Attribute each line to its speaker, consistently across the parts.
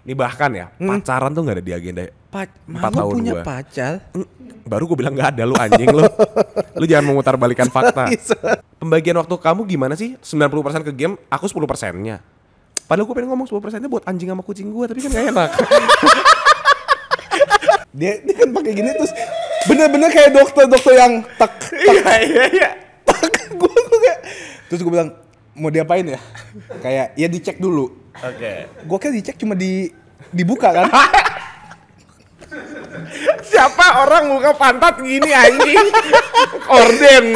Speaker 1: Ini bahkan ya, pacaran tuh nggak ada di agenda
Speaker 2: Pac-
Speaker 1: Empat
Speaker 2: Mama
Speaker 1: tahun
Speaker 2: punya
Speaker 1: gua.
Speaker 2: pacar.
Speaker 1: Baru gue bilang nggak ada lu anjing lu. Lu jangan memutar balikan fakta. Pembagian waktu kamu gimana sih? 90% ke game, aku 10 persennya. Padahal gue pengen ngomong 10 persennya buat anjing sama kucing gue, tapi kan gak enak.
Speaker 2: dia, dia kan pakai gini terus bener-bener kayak dokter-dokter yang tek
Speaker 1: Iya, iya, iya.
Speaker 2: tek gue tuh kayak terus gue bilang mau diapain ya kayak ya dicek dulu
Speaker 1: Oke.
Speaker 2: gue kan dicek cuma di dibuka kan
Speaker 1: Siapa orang muka pantat gini anjing? Orden.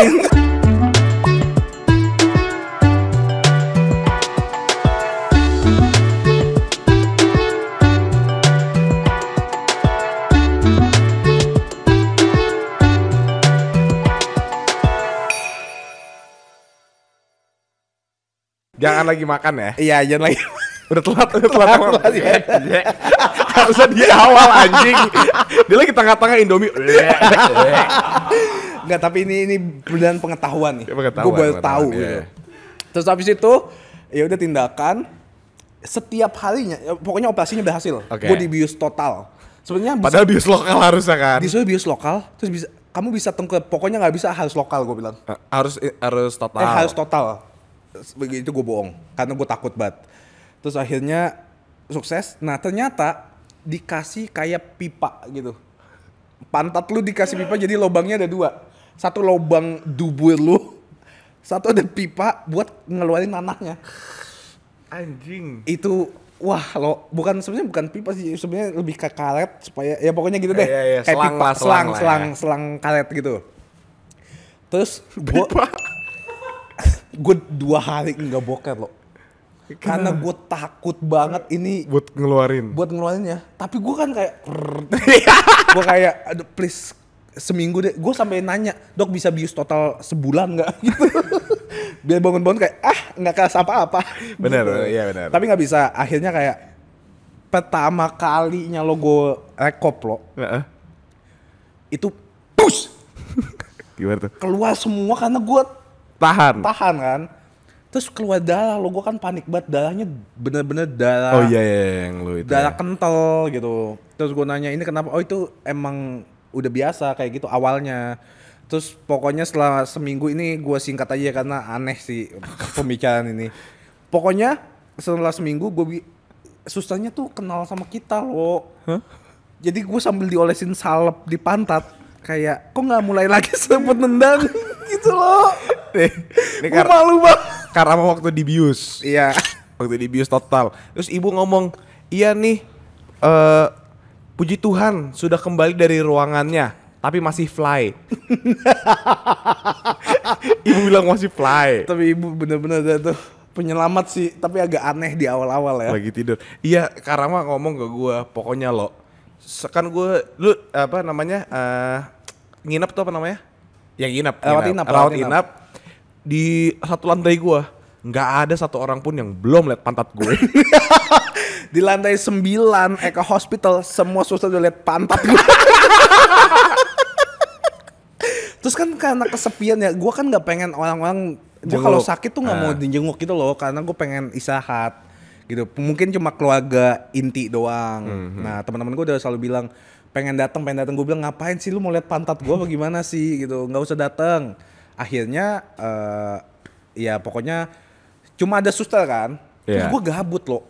Speaker 1: Jangan lagi makan ya.
Speaker 2: iya jangan lagi
Speaker 1: Udah telat, udah telat,
Speaker 2: Telat,
Speaker 1: emang.
Speaker 2: telat, ya.
Speaker 1: Harusnya dia awal anjing. Dia lagi tengah-tengah Indomie.
Speaker 2: nggak tapi ini ini beneran pengetahuan
Speaker 1: Ya,
Speaker 2: nih
Speaker 1: pengetahuan,
Speaker 2: gue baru
Speaker 1: pengetahuan,
Speaker 2: tahu
Speaker 1: iya.
Speaker 2: gitu terus habis itu ya udah tindakan setiap harinya ya, pokoknya operasinya berhasil
Speaker 1: Oke.
Speaker 2: gue dibius total sebenarnya bisa
Speaker 1: Padahal bius lokal harusnya kan.
Speaker 2: disuruh bius lokal terus bisa kamu bisa tengkep pokoknya nggak bisa harus lokal gue bilang
Speaker 1: Eh, harus harus total.
Speaker 2: Eh harus total. Begitu gue bohong karena gue takut banget. Terus akhirnya sukses. Nah ternyata dikasih kayak pipa gitu. Pantat lu dikasih pipa jadi lubangnya ada dua. Satu lubang dubur lu, satu ada pipa buat ngeluarin nanahnya.
Speaker 1: anjing.
Speaker 2: Itu wah lo bukan sebenarnya bukan pipa sih sebenarnya lebih ke karet supaya ya pokoknya gitu deh
Speaker 1: Iya, iya,
Speaker 2: kayak
Speaker 1: selang
Speaker 2: pipa
Speaker 1: lah, selang
Speaker 2: selang
Speaker 1: lah
Speaker 2: selang
Speaker 1: ya.
Speaker 2: selang karet gitu terus gue
Speaker 1: Pipa.
Speaker 2: gue dua hari nggak boker loh karena gue takut banget ini
Speaker 1: Buat ngeluarin.
Speaker 2: buat ngeluarinnya tapi gue kan kayak gue kayak aduh please seminggu deh gue sampai nanya dok bisa bius total sebulan nggak gitu biar bangun-bangun kayak ah nggak kerasa apa-apa Gitu.
Speaker 1: Bener, iya bener.
Speaker 2: tapi nggak bisa akhirnya kayak pertama kalinya lo gue rekop lo
Speaker 1: Heeh.
Speaker 2: itu push
Speaker 1: Gimana tuh?
Speaker 2: keluar semua karena gue
Speaker 1: Tahan.
Speaker 2: tahan kan terus keluar darah lo gue kan panik banget darahnya bener-bener darah
Speaker 1: Oh iya, iya iya, yang lu itu.
Speaker 2: darah
Speaker 1: ya.
Speaker 2: kental gitu terus gue nanya ini kenapa oh itu emang udah biasa kayak gitu awalnya terus pokoknya setelah seminggu ini gue singkat aja karena aneh sih pembicaraan ini pokoknya setelah seminggu gue bi- susternya tuh kenal sama kita lo jadi gue sambil diolesin salep di pantat kayak kok nggak mulai lagi sebut nendang gitu loh
Speaker 1: Nih, ini
Speaker 2: gue
Speaker 1: kar-
Speaker 2: malu banget
Speaker 1: karena waktu dibius.
Speaker 2: Iya.
Speaker 1: Waktu dibius total. Terus ibu ngomong, "Iya nih, eh puji Tuhan sudah kembali dari ruangannya, tapi masih fly." ibu bilang masih fly.
Speaker 2: Tapi ibu bener-bener ada tuh penyelamat sih, tapi agak aneh di awal-awal ya.
Speaker 1: lagi tidur. Iya, Karama ngomong ke gua, pokoknya lo sekan gua lu apa namanya? eh nginep tuh apa namanya? Yang nginep,
Speaker 2: Rawat inap,
Speaker 1: rawat
Speaker 2: rawat
Speaker 1: inap. Di satu lantai gua nggak ada satu orang pun yang belum lihat pantat gue.
Speaker 2: Di lantai 9 Eka Hospital semua suster udah lihat pantat gue. Terus kan karena kesepian ya, gue kan nggak pengen orang-orang gue
Speaker 1: Jenguk.
Speaker 2: kalau sakit tuh nggak mau
Speaker 1: Ah.
Speaker 2: dijenguk gitu loh, karena gue pengen istirahat gitu. Mungkin cuma keluarga inti doang.
Speaker 1: Mhm.
Speaker 2: Nah teman-teman gue udah selalu bilang pengen datang, pengen datang. Gue bilang ngapain sih lu mau lihat pantat gue apa gimana sih gitu, nggak usah datang. Akhirnya eh, ya pokoknya cuma ada suster kan. Terus
Speaker 1: Iya.
Speaker 2: gue gabut loh.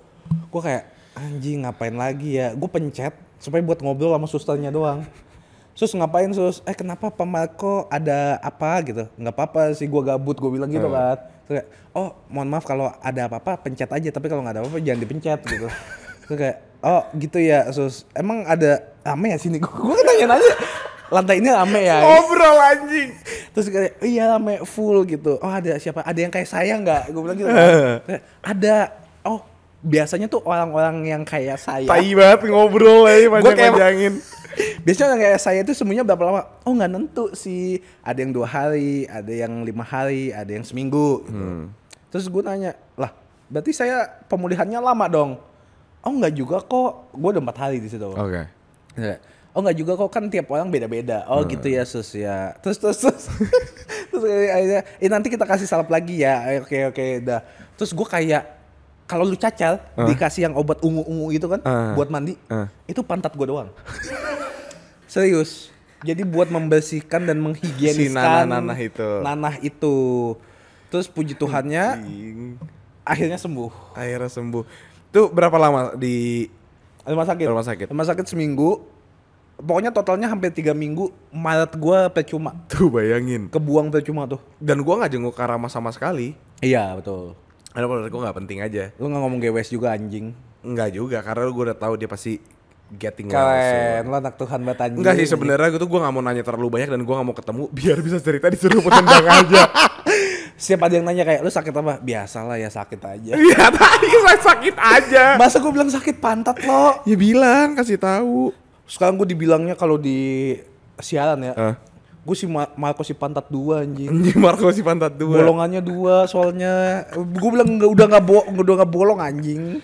Speaker 2: Gue kayak anjing ngapain lagi ya? Gue pencet supaya buat ngobrol sama susternya doang. Sus ngapain sus? Eh kenapa Pak Marco ada apa gitu? Nggak apa-apa sih gue gabut gue bilang gitu kan. Terus kayak, oh mohon maaf kalau ada apa-apa pencet aja tapi kalau nggak ada apa-apa jangan dipencet gitu. Terus kayak oh gitu ya sus. Emang ada rame ya sini? Gue nanya nanya lantai ini rame ya?
Speaker 1: Oh, Ngobrol anjing.
Speaker 2: terus kayak iya rame full gitu oh ada siapa ada yang kayak saya nggak gue bilang gitu kan. Kayak, ada oh biasanya tuh orang-orang yang kayak saya
Speaker 1: Tai banget ngobrol aja panjang-panjangin.
Speaker 2: panjang-panjangin. biasanya orang kayak saya itu semuanya berapa lama oh nggak nentu sih ada yang dua hari ada yang lima hari ada yang seminggu gitu. terus gue nanya lah berarti saya pemulihannya lama dong oh nggak juga kok gue udah empat hari di situ
Speaker 1: Oke.
Speaker 2: Iya. Oh nggak juga kok kan tiap orang beda-beda. Oh gitu ya sus ya. Terus terus terus ya." Eh, terus kayak akhirnya, eh nanti kita kasih salep lagi ya. Eh, Oke oke dah. Terus gue kayak kalau lu cacal dikasih yang obat ungu-ungu itu kan
Speaker 1: Ah.
Speaker 2: buat mandi,
Speaker 1: Ah.
Speaker 2: itu pantat gua doang. Serius. Jadi buat membersihkan dan menghigieniskan
Speaker 1: Si nanah-nanah itu.
Speaker 2: Nanah itu. Terus puji Tuhannya akhirnya sembuh.
Speaker 1: Akhirnya sembuh. Tuh berapa lama di
Speaker 2: Rumah sakit.
Speaker 1: Rumah sakit.
Speaker 2: Rumah sakit seminggu. Pokoknya totalnya hampir tiga minggu. Maret gua percuma.
Speaker 1: tuh bayangin.
Speaker 2: Kebuang percuma tuh.
Speaker 1: Dan gua nggak jenguk Karama sama sekali.
Speaker 2: Iya betul.
Speaker 1: Karena menurut gua nggak penting aja.
Speaker 2: Lu nggak ngomong GWS juga anjing.
Speaker 1: Nggak juga karena gua udah tahu dia pasti getting well soon.
Speaker 2: Keren, lo anak Tuhan banget anjing.
Speaker 1: Enggak sih sebenarnya gitu gua nggak mau nanya terlalu banyak dan gua nggak mau ketemu biar bisa cerita disuruh tendang aja.
Speaker 2: Siapa ada yang nanya kayak, lu sakit apa? Biasalah ya sakit aja.
Speaker 1: Iya tadi saya sakit aja.
Speaker 2: Masa gue bilang sakit pantat lo?
Speaker 1: Ya bilang kasih tahu.
Speaker 2: Sekarang gue dibilangnya kalau di siaran ya,
Speaker 1: Eh.
Speaker 2: gue si Ma- Marco si pantat dua anjing.
Speaker 1: Anjing Marco si pantat dua.
Speaker 2: Bolongannya dua soalnya. Gue bilang nggak udah nggak bo- udah nggak bolong anjing.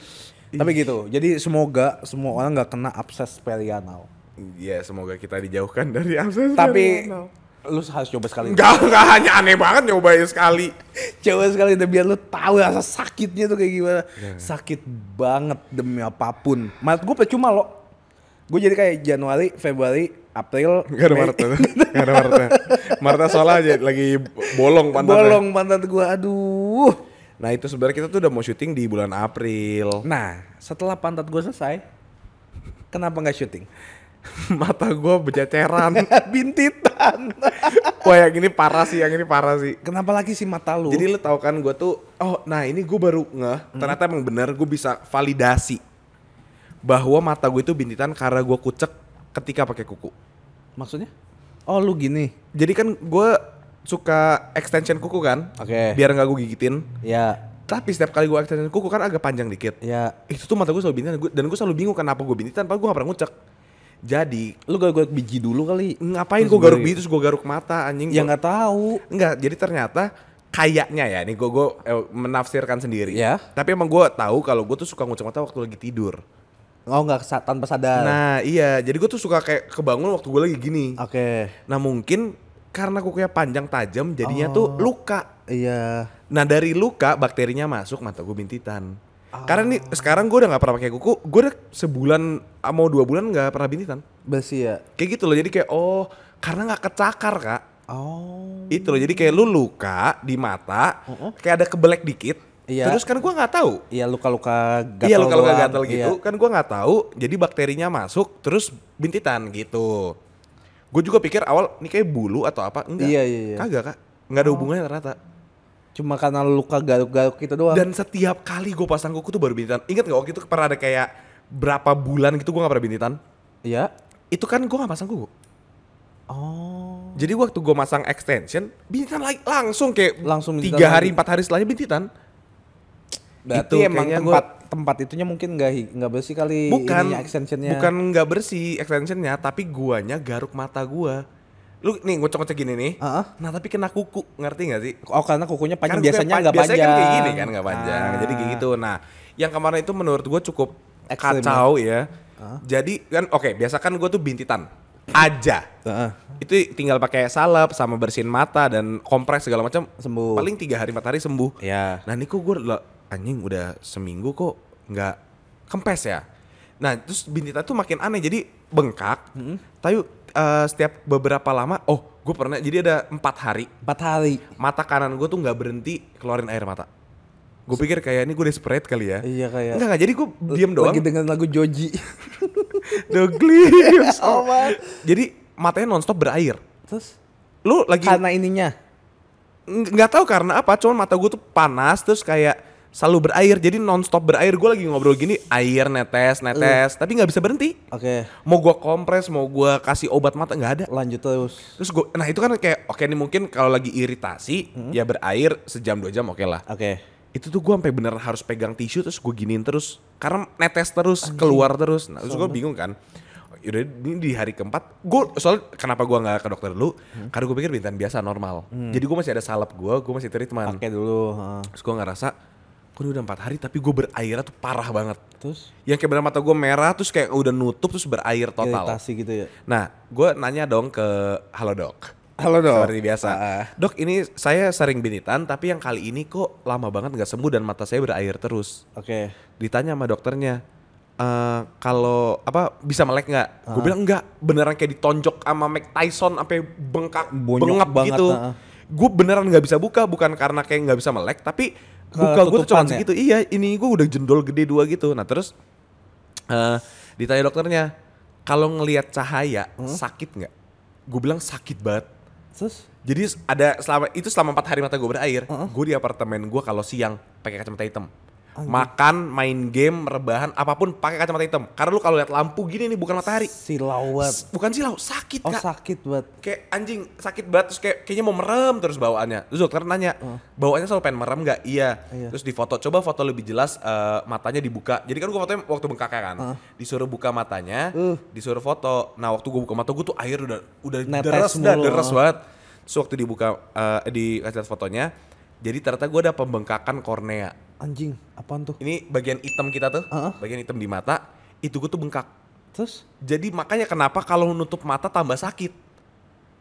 Speaker 2: Tapi gitu. Jadi semoga semua orang nggak kena abses perianal.
Speaker 1: Ya semoga kita dijauhkan dari absen.
Speaker 2: Tapi
Speaker 1: iya,
Speaker 2: lu harus coba sekali.
Speaker 1: Enggak, enggak hanya aneh banget nyobain sekali.
Speaker 2: Coba sekali deh biar lu tahu rasa sakitnya tuh kayak gimana. Sakit banget demi apapun. Maret gue percuma lo. Gue jadi kayak Januari, Februari, April,
Speaker 1: Enggak ada
Speaker 2: Mei. Eh,
Speaker 1: Marta. Enggak ada Marta. Marta soalnya aja lagi bolong pantatnya.
Speaker 2: Bolong pantat gue, aduh.
Speaker 1: Nah itu sebenarnya kita tuh udah mau syuting di bulan April.
Speaker 2: Nah, setelah pantat gue selesai, kenapa nggak syuting?
Speaker 1: Mata gua bececeran.
Speaker 2: Bintitan.
Speaker 1: Wah yang ini parah sih, yang ini parah sih.
Speaker 2: kenapa lagi sih mata lu?
Speaker 1: Jadi lu tahu kan gue tuh, oh nah ini gue baru ngeh, ternyata emang bener gue bisa validasi bahwa mata gue itu bintitan karena gue kucek ketika pakai kuku.
Speaker 2: maksudnya? Oh lu gini.
Speaker 1: Jadi kan gue suka extension kuku kan,
Speaker 2: Oke.
Speaker 1: biar nggak gue gigitin.
Speaker 2: Ya,
Speaker 1: Tapi setiap kali gue extension kuku kan agak panjang dikit.
Speaker 2: ya.
Speaker 1: Itu tuh mata gue selalu bintitan Gua- dan gue selalu bingung kenapa gue bintitan, padahal gue gak pernah ngucek. Jadi
Speaker 2: Lu gue biji dulu kali.
Speaker 1: ngapain
Speaker 2: Terus
Speaker 1: gue garuk
Speaker 2: baru-
Speaker 1: biji terus gue garuk mata anjing?
Speaker 2: Ya
Speaker 1: Gua-
Speaker 2: nggak tahu.
Speaker 1: Enggak, jadi ternyata kayaknya ya, ini gue gue menafsirkan sendiri.
Speaker 2: Ya.
Speaker 1: Tapi emang gue tahu kalau gue tuh suka ngucek mata waktu lagi tidur.
Speaker 2: Oh nggak sa- tanpa sadar.
Speaker 1: Nah iya, jadi gue tuh suka kayak kebangun waktu gue lagi gini.
Speaker 2: Oke.
Speaker 1: Nah mungkin karena kukunya panjang tajam, jadinya tuh luka.
Speaker 2: Iya.
Speaker 1: Nah dari luka bakterinya masuk mata gue bintitan. Karena
Speaker 2: Ah.
Speaker 1: nih sekarang gue udah nggak pernah pakai kuku, gue udah sebulan ah, mau dua bulan nggak pernah bintitan.
Speaker 2: Besi ya.
Speaker 1: Kayak gitu loh, jadi kayak oh karena nggak kecakar kak.
Speaker 2: Oh.
Speaker 1: itu loh jadi kayak lu luka di mata kayak ada kebelek dikit
Speaker 2: Uh-uh. Iya.
Speaker 1: terus kan gua nggak tahu
Speaker 2: Iya luka-luka gatal.
Speaker 1: iya lu kalau nggak
Speaker 2: doang.
Speaker 1: gatal gitu
Speaker 2: Iya.
Speaker 1: kan gua nggak tahu jadi bakterinya masuk terus bintitan gitu gue juga pikir awal ini kayak bulu atau apa enggak
Speaker 2: Iya, iya, iya.
Speaker 1: kagak kak nggak ada hubungannya ternyata
Speaker 2: Cuma karena luka garuk-garuk gitu doang.
Speaker 1: dan setiap kali gue pasang kuku tuh baru bintitan ingat nggak waktu itu pernah ada kayak berapa bulan gitu gua nggak pernah bintitan
Speaker 2: Iya.
Speaker 1: itu kan gua nggak pasang kuku
Speaker 2: Oh.
Speaker 1: jadi waktu gua masang extension bintitan lagi langsung kayak
Speaker 2: Langsung bintitan
Speaker 1: tiga
Speaker 2: lagi.
Speaker 1: hari empat hari setelahnya bintitan
Speaker 2: Berarti
Speaker 1: Gitu,
Speaker 2: emang
Speaker 1: kayaknya
Speaker 2: tempat tempat itunya mungkin nggak hi- nggak bersih kali
Speaker 1: bukan
Speaker 2: ininya, extensionnya.
Speaker 1: bukan nggak bersih extensionnya tapi guanya garuk mata gua lu nih ngocok-ngocok gini nih
Speaker 2: Heeh.
Speaker 1: nah tapi kena kuku ngerti nggak sih
Speaker 2: Oh karena kukunya
Speaker 1: Karena
Speaker 2: panjang
Speaker 1: kukunya
Speaker 2: biasanya
Speaker 1: pan-
Speaker 2: nggak panjang.
Speaker 1: biasanya kan kayak gini kan nggak panjang
Speaker 2: Ah.
Speaker 1: jadi kayak gitu nah yang kemarin itu menurut gua cukup
Speaker 2: Ekstrim
Speaker 1: kacau ya jadi kan oke biasa kan gua tuh bintitan aja
Speaker 2: Heeh.
Speaker 1: itu tinggal pakai salep sama bersihin mata dan kompres segala macam
Speaker 2: Sembuh.
Speaker 1: paling tiga hari empat hari sembuh
Speaker 2: Iya.
Speaker 1: Nah ini kok gue anjing udah seminggu kok nggak kempes ya. Nah terus bintitan tuh makin aneh jadi bengkak.
Speaker 2: Hmm.
Speaker 1: Tapi eh, setiap beberapa lama, oh gue pernah jadi ada empat hari
Speaker 2: Empat hari.
Speaker 1: mata kanan gue tuh nggak berhenti keluarin air mata. Gue pikir kayak ini gue desperate kali ya.
Speaker 2: Iya, kayak-
Speaker 1: Enggak enggak jadi gue diem doang.
Speaker 2: Lagi dengan lagu Joji.
Speaker 1: The Glimpse.
Speaker 2: Oh,
Speaker 1: ya
Speaker 2: man.
Speaker 1: jadi matanya nonstop berair.
Speaker 2: Terus
Speaker 1: Lu lagi
Speaker 2: karena ininya.
Speaker 1: Ng- nggak tahu karena apa cuman mata gue tuh panas terus kayak selalu berair jadi nonstop berair gue lagi ngobrol gini air netes netes tapi nggak bisa berhenti
Speaker 2: Oke.
Speaker 1: mau gue kompres mau gue kasih obat mata nggak ada
Speaker 2: Lanjut terus.
Speaker 1: terus gue nah itu kan kayak oke nih mungkin kalau lagi iritasi
Speaker 2: Hmm.
Speaker 1: ya berair sejam dua jam oke lah
Speaker 2: Oke.
Speaker 1: itu tuh gue sampai bener harus pegang tisu terus gue giniin terus karena netes terus keluar terus nah terus gue bingung kan Yaudah ini di hari keempat gue soal kenapa gue nggak ke dokter dulu karena gue pikir bintan biasa normal jadi gue masih ada salep gue gue masih treatment
Speaker 2: Pakai dulu. heeh.
Speaker 1: Terus gue ngerasa, kok ini udah empat hari tapi gue berairnya tuh parah banget.
Speaker 2: Terus
Speaker 1: Yang kayak bener mata gue merah terus kayak udah nutup terus berair total.
Speaker 2: iritasi gitu ya.
Speaker 1: Nah, gue nanya dong ke Halo Dok.
Speaker 2: Halo, Dok.
Speaker 1: Seperti biasa.
Speaker 2: Ah.
Speaker 1: Dok, ini saya sering binitan, tapi yang kali ini kok lama banget nggak sembuh dan mata saya berair terus.
Speaker 2: Oke.
Speaker 1: Ditanya sama dokternya, "Eh, kalau apa bisa melek nggak?
Speaker 2: Ah.
Speaker 1: Gue bilang enggak, beneran kayak ditonjok sama Mike Tyson sampai bengkak,
Speaker 2: Bonyok
Speaker 1: bengap
Speaker 2: banget,
Speaker 1: gitu.
Speaker 2: ah.
Speaker 1: Gue beneran nggak bisa buka, bukan karena kayak nggak bisa melek, tapi buka gue tuh
Speaker 2: Ketutupan
Speaker 1: cuma
Speaker 2: ya?
Speaker 1: segitu. Iya, ini gue udah jendol gede dua gitu. Nah terus eh ditanya dokternya, kalau ngelihat cahaya
Speaker 2: Hmm?
Speaker 1: sakit nggak? Gue bilang sakit banget.
Speaker 2: Terus?
Speaker 1: Jadi s- ada selama itu selama empat hari mata gue berair. Gue di apartemen gue kalau siang pakai kacamata hitam. Makan, main game, rebahan, apapun pakai kacamata hitam. Karena lu kalau lihat lampu gini nih bukan matahari.
Speaker 2: Silau banget.
Speaker 1: S- Bukan silau, sakit
Speaker 2: Oh,
Speaker 1: Kak.
Speaker 2: sakit banget.
Speaker 1: kayak anjing sakit banget terus kayak kayaknya mau merem terus bawaannya. Terus dokter nanya, "Bawaannya selalu pengen merem nggak?" Iya.
Speaker 2: Oh. Iya.
Speaker 1: Terus difoto, coba foto lebih jelas eh, matanya dibuka. Jadi kan gue fotonya waktu bengkaknya kan. Disuruh buka matanya,
Speaker 2: Uh.
Speaker 1: disuruh foto. Nah, waktu gue buka mata gue tuh air udah udah
Speaker 2: Netes
Speaker 1: deres dah,
Speaker 2: mulu.
Speaker 1: deres banget. Terus waktu dibuka eh, di kasih lihat fotonya, jadi ternyata gue ada pembengkakan kornea.
Speaker 2: Anjing, apaan tuh?
Speaker 1: Ini bagian hitam kita tuh,
Speaker 2: Heeh.
Speaker 1: bagian hitam di mata, itu gue tuh bengkak.
Speaker 2: Terus?
Speaker 1: Jadi makanya kenapa kalau nutup mata tambah sakit.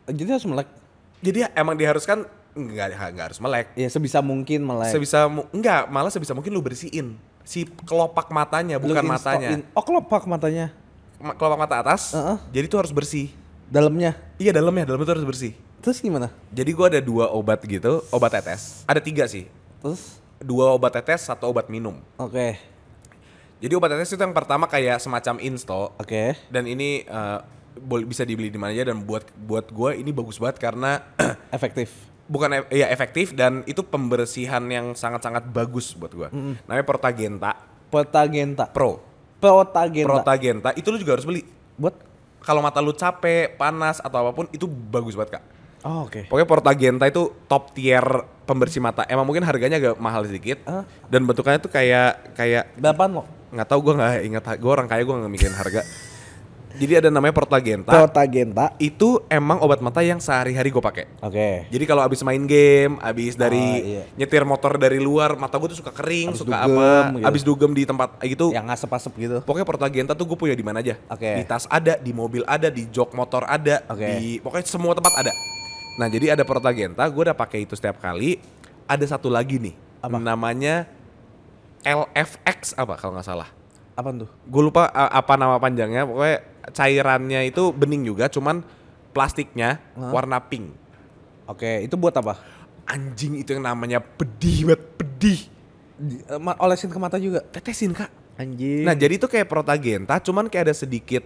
Speaker 2: Jadi harus melek.
Speaker 1: Jadi emang diharuskan nggak nggak harus melek.
Speaker 2: Ya sebisa mungkin melek.
Speaker 1: Sebisa mu- nggak malah sebisa mungkin lu bersihin si kelopak matanya
Speaker 2: Lu
Speaker 1: bukan
Speaker 2: in-
Speaker 1: matanya.
Speaker 2: stop in- Oh, kelopak matanya.
Speaker 1: Ma- Kelopak mata atas.
Speaker 2: Heeh.
Speaker 1: Jadi tuh harus bersih.
Speaker 2: Dalamnya.
Speaker 1: Iya dalamnya, dalamnya tuh harus bersih.
Speaker 2: Terus gimana?
Speaker 1: Jadi gua ada dua obat gitu, obat tetes. Ada tiga sih.
Speaker 2: Terus?
Speaker 1: Dua obat tetes, satu obat minum.
Speaker 2: Oke.
Speaker 1: Jadi obat tetes itu yang pertama kayak semacam insto.
Speaker 2: Oke.
Speaker 1: Dan ini eh, boleh bisa dibeli di mana aja dan buat buat gua ini bagus banget karena
Speaker 2: Efektif.
Speaker 1: bukan ef- ya efektif dan itu pembersihan yang sangat-sangat bagus buat gua. Namanya Protagenta
Speaker 2: Protagenta.
Speaker 1: Pro.
Speaker 2: Protagenta.
Speaker 1: Protagenta itu lu juga harus beli.
Speaker 2: Buat?
Speaker 1: Kalau mata lu capek, panas atau apapun itu bagus banget, Kak.
Speaker 2: Oh, oke.
Speaker 1: Pokoknya Protagenta itu top tier pembersih mata. Emang mungkin harganya agak mahal sedikit
Speaker 2: Hah?
Speaker 1: dan bentukannya tuh kayak kayak
Speaker 2: Berapaan lo?
Speaker 1: nggak tahu gua nggak ingat gua orang kaya gua nggak mikirin harga. Jadi ada namanya Protagenta.
Speaker 2: Protagenta.
Speaker 1: Itu emang obat mata yang sehari-hari gue pakai.
Speaker 2: Oke.
Speaker 1: Jadi kalau abis main game, abis dari
Speaker 2: iya.
Speaker 1: nyetir motor dari luar, mata gue tuh suka kering,
Speaker 2: Abis
Speaker 1: suka
Speaker 2: dugem
Speaker 1: apa,
Speaker 2: gitu.
Speaker 1: abis dugem di tempat gitu.
Speaker 2: Yang ngasep-asep gitu.
Speaker 1: Pokoknya Portagenta tuh gue punya di mana aja.
Speaker 2: Oke.
Speaker 1: Di tas ada, di mobil ada, di jok motor ada,
Speaker 2: Oke.
Speaker 1: di pokoknya semua tempat ada. Nah jadi ada Portagenta, gue udah pakai itu setiap kali. Ada satu lagi nih, namanya LFX apa kalau nggak salah.
Speaker 2: Apaan tuh?
Speaker 1: Gue lupa uh, apa nama panjangnya, pokoknya cairannya itu bening juga, cuman plastiknya warna pink.
Speaker 2: Oke, itu buat apa?
Speaker 1: anjing itu yang namanya pedih banget pedih
Speaker 2: Di- eh, ma- Olesin ke mata juga.
Speaker 1: tetesin kak
Speaker 2: Anjing.
Speaker 1: nah jadi itu kayak protagenta cuman kayak ada sedikit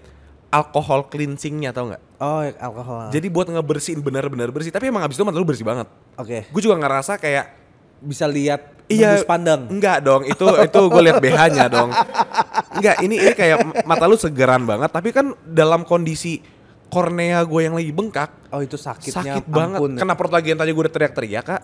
Speaker 1: alkohol cleansingnya tau nggak
Speaker 2: oh, yang alkohol.
Speaker 1: jadi buat ngebersihin benar-benar bersih tapi emang abis itu mata lu bersih banget
Speaker 2: Oke.
Speaker 1: gue juga ngerasa kayak
Speaker 2: Bisa lihat
Speaker 1: Iya,
Speaker 2: tembus pandang.
Speaker 1: Enggak dong, itu itu gue lihat BH-nya dong. Enggak, ini ini kayak m- mata lu segeran banget, tapi kan dalam kondisi kornea gue yang lagi bengkak,
Speaker 2: Oh, itu sakitnya.
Speaker 1: sakit banget.
Speaker 2: ampun.
Speaker 1: Kena protagen tadi gue udah teriak-teriak kak.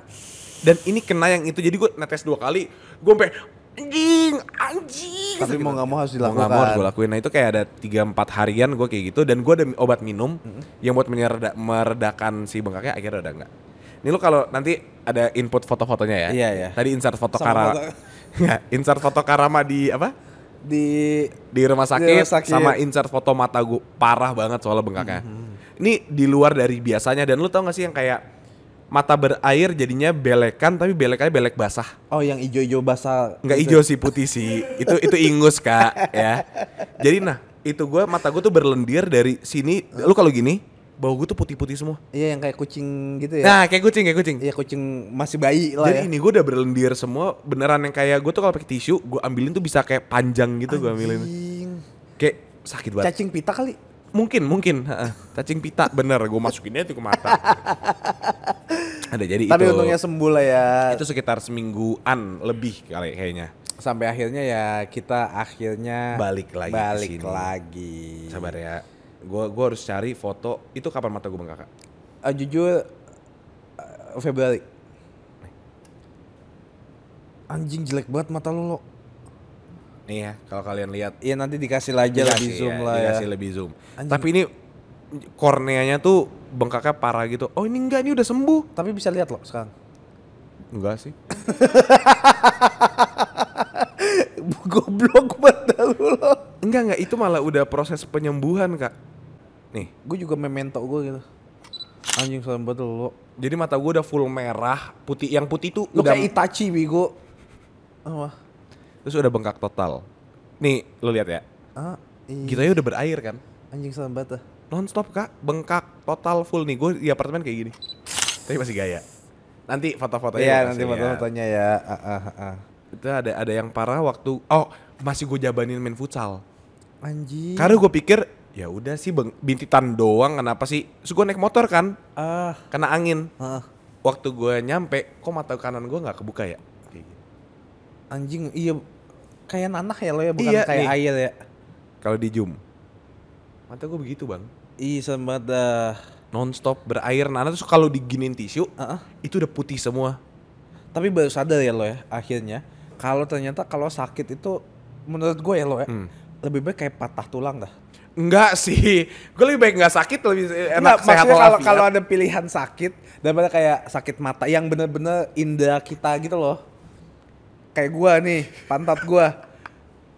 Speaker 1: Dan ini kena yang itu, jadi gue netes dua kali. Gue sampai anjing, anjing.
Speaker 2: Tapi
Speaker 1: gitu.
Speaker 2: mau nggak mau harus
Speaker 1: Mau nggak mau harus
Speaker 2: dilakukan.
Speaker 1: gue lakuin. Nah itu kayak ada 3-4 harian gue kayak gitu. Dan gue ada obat minum yang buat menyerda- meredakan si bengkaknya akhirnya udah enggak. Ini lu kalau nanti ada input foto-fotonya ya.
Speaker 2: Iya, iya.
Speaker 1: Tadi insert foto
Speaker 2: Sama
Speaker 1: Kara-
Speaker 2: foto-
Speaker 1: Nggak, insert foto Karama di apa?
Speaker 2: Di
Speaker 1: Di rumah sakit,
Speaker 2: Di rumah sakit.
Speaker 1: sama insert foto mata gue parah banget soalnya bengkaknya.
Speaker 2: Mm-hmm.
Speaker 1: Ini di luar dari biasanya dan lu tau gak sih yang kayak mata berair jadinya belekan tapi belekannya belek basah.
Speaker 2: Oh, yang ijo-ijo basah.
Speaker 1: Nggak hijau
Speaker 2: gitu.
Speaker 1: sih putih sih. Itu itu ingus Kak ya. Jadi nah, itu gue mata gue tuh berlendir dari sini. Lu kalau gini, bau gue tuh putih-putih semua.
Speaker 2: Iya, yang kayak kucing gitu ya.
Speaker 1: Nah, kayak kucing, kayak kucing.
Speaker 2: Iya kucing masih bayi lah
Speaker 1: Jadi
Speaker 2: ya.
Speaker 1: ini gue udah berlendir semua beneran yang kayak gue tuh kalau pakai tisu gue ambilin tuh bisa kayak panjang gitu gue ambilin.
Speaker 2: Anjing.
Speaker 1: Kayak sakit banget.
Speaker 2: Cacing pita kali.
Speaker 1: Mungkin mungkin heeh. cacing pita bener gue masukinnya tuh ke mata. Ada jadi
Speaker 2: Tapi
Speaker 1: itu.
Speaker 2: untungnya sembuh lah ya.
Speaker 1: itu sekitar semingguan lebih kali kayaknya.
Speaker 2: Sampai akhirnya ya kita akhirnya
Speaker 1: Balik lagi ke
Speaker 2: Nah, Balik
Speaker 1: sini.
Speaker 2: lagi.
Speaker 1: Sabar ya. Gue gua harus cari foto itu kapan mata gue bengkak. Kak?
Speaker 2: Eh, jujur eh, Februari. Anjing jelek banget mata lu lo.
Speaker 1: Nih ya kalau kalian lihat
Speaker 2: Iya nanti dikasih lah aja
Speaker 1: Dikasih
Speaker 2: lebih zoom
Speaker 1: ya,
Speaker 2: lah ya.
Speaker 1: dikasih lebih zoom.
Speaker 2: Anjing.
Speaker 1: Tapi ini korneanya tuh bengkaknya parah gitu. Oh ini enggak ini udah sembuh.
Speaker 2: Tapi bisa lihat lo sekarang.
Speaker 1: Enggak sih.
Speaker 2: Goblok mata lu lo.
Speaker 1: Enggak enggak itu malah udah proses penyembuhan kak. Nih
Speaker 2: Gue juga memento gue gitu. Anjing serem banget lu.
Speaker 1: Jadi mata gue udah full merah, putih yang putih tuh
Speaker 2: Lu
Speaker 1: udah
Speaker 2: kayak Itachi Oh, Bigo. Apa?
Speaker 1: terus udah bengkak total. Nih, lu lihat ya.
Speaker 2: Ah, iya.
Speaker 1: Gitu aja udah berair kan.
Speaker 2: Anjing serem banget. ah.
Speaker 1: Nonstop Kak, bengkak total full nih gue di apartemen kayak gini. Tapi masih gaya. Nanti foto-fotonya.
Speaker 2: Iya
Speaker 1: gua
Speaker 2: nanti
Speaker 1: kasih lihat.
Speaker 2: foto-fotonya ya. Ah, ah, ah.
Speaker 1: Itu ada ada yang parah waktu oh, masih gue jabanin main futsal.
Speaker 2: Anjing.
Speaker 1: Karena gue pikir ya udah sih beng- bintitan doang kenapa sih? Terus gue naik motor kan,
Speaker 2: ah.
Speaker 1: kena angin.
Speaker 2: ah.
Speaker 1: Waktu gue nyampe, kok mata kanan gue nggak kebuka ya? Kayak gitu.
Speaker 2: Anjing iya kayak nanah ya lo ya bukan
Speaker 1: Iya,
Speaker 2: kayak
Speaker 1: nih.
Speaker 2: air ya.
Speaker 1: Kalau di zoom, mata gue begitu bang.
Speaker 2: Ih serem banget dah.
Speaker 1: Nonstop berair nana terus kalau diginin tisu,
Speaker 2: Ah, ah.
Speaker 1: itu udah putih semua.
Speaker 2: Tapi baru sadar ya lo ya akhirnya. Kalau ternyata kalau sakit itu menurut gue ya lo ya lebih baik kayak patah tulang dah.
Speaker 1: Enggak sih, gue lebih baik nggak sakit lebih enak
Speaker 2: Enggak,
Speaker 1: sehat
Speaker 2: maksudnya kalau
Speaker 1: walafiat.
Speaker 2: kalau ada pilihan sakit daripada kayak sakit mata yang bener-bener indera kita gitu loh. Kayak gua nih, pantat gua.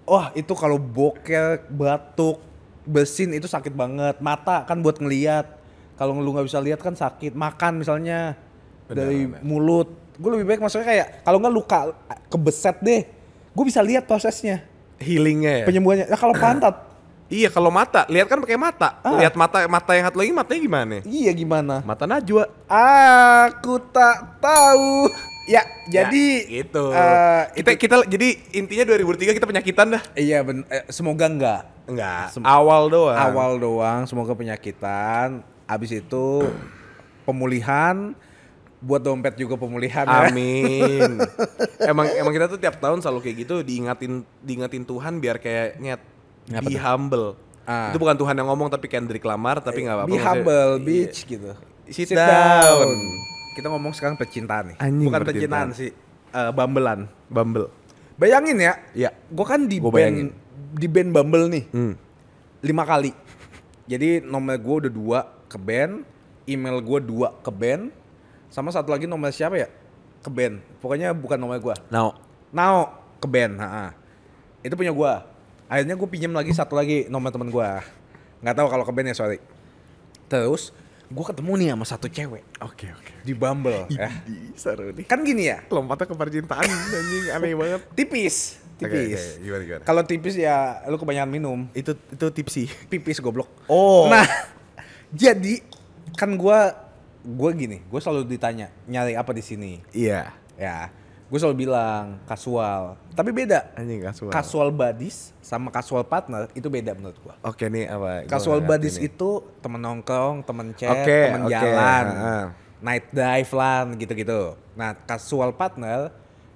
Speaker 2: Wah, itu kalau boker, batuk, bersin itu sakit banget. Mata kan buat ngeliat. Kalau lu nggak bisa lihat kan sakit. Makan misalnya
Speaker 1: Benar,
Speaker 2: dari
Speaker 1: benar.
Speaker 2: mulut. Gue lebih baik maksudnya kayak kalau nggak luka kebeset deh. Gue bisa lihat prosesnya,
Speaker 1: healingnya ya.
Speaker 2: penyembuhannya. Nah, kalau pantat,
Speaker 1: iya kalau mata, lihat kan pakai mata.
Speaker 2: Ah.
Speaker 1: Lihat mata mata yang satu lagi matanya gimana?
Speaker 2: iya gimana?
Speaker 1: Mata Najwa.
Speaker 2: Aku tak tahu. Ya, jadi
Speaker 1: Ya, gitu.
Speaker 2: eh,
Speaker 1: kita kita jadi intinya 2003 kita penyakitan dah.
Speaker 2: iya ben, eh, semoga enggak.
Speaker 1: Enggak,
Speaker 2: Sem-
Speaker 1: awal doang.
Speaker 2: Awal doang, semoga penyakitan. Abis itu pemulihan buat dompet juga pemulihan ya.
Speaker 1: Amin. emang emang kita tuh tiap tahun selalu kayak gitu diingatin diingatin Tuhan biar kayak nyet
Speaker 2: Ngapa
Speaker 1: be
Speaker 2: tuh?
Speaker 1: humble.
Speaker 2: Ah. Eh,
Speaker 1: Itu bukan Tuhan yang ngomong tapi Kendrick Lamar tapi nggak apa-apa.
Speaker 2: Be
Speaker 1: maksudnya-
Speaker 2: humble,
Speaker 1: Iya.
Speaker 2: bitch gitu.
Speaker 1: Sit down.
Speaker 2: Kita ngomong sekarang percintaan nih.
Speaker 1: Anjing,
Speaker 2: Bukan
Speaker 1: percintaan.
Speaker 2: percintaan, sih, eh, bambelan.
Speaker 1: Bumble.
Speaker 2: Bayangin ya,
Speaker 1: Iya.
Speaker 2: gue kan di
Speaker 1: Gua bayangin.
Speaker 2: band di band Bumble nih.
Speaker 1: Hmm.
Speaker 2: lima kali. Jadi nomor gue udah dua ke band, email gue dua ke band, sama satu lagi nomor siapa ya ke band. Pokoknya bukan nomor gue.
Speaker 1: Now,
Speaker 2: Now ke band, ha-ha. itu punya gue. Akhirnya gue pinjam lagi satu lagi nomor temen gue. Nggak tahu kalau ke band ya sorry. Terus gue ketemu nih sama satu cewek
Speaker 1: oke oke.
Speaker 2: di Bumble ya.
Speaker 1: Di seru nih.
Speaker 2: Kan gini ya,
Speaker 1: Lompatnya ke percintaan anjing aneh banget.
Speaker 2: tipis,
Speaker 1: Oke,
Speaker 2: tipis.
Speaker 1: oke, gimana, gimana?
Speaker 2: Kalau tipis ya lu kebanyakan minum.
Speaker 1: Itu itu tipsi.
Speaker 2: pipis goblok.
Speaker 1: Oh.
Speaker 2: Nah, jadi kan gua gua gini, gua selalu ditanya nyari apa di sini.
Speaker 1: Iya.
Speaker 2: Ya, gua selalu bilang kasual. Tapi beda.
Speaker 1: Anjing kasual.
Speaker 2: Kasual buddies sama kasual partner itu beda menurut gua.
Speaker 1: Oke nih apa? gua nggak ngerti
Speaker 2: Kasual buddies
Speaker 1: nih.
Speaker 2: itu temen nongkrong, temen chat,
Speaker 1: Oke,
Speaker 2: temen
Speaker 1: oke,
Speaker 2: jalan,
Speaker 1: heeh.
Speaker 2: night dive lah gitu-gitu. Nah, kasual partner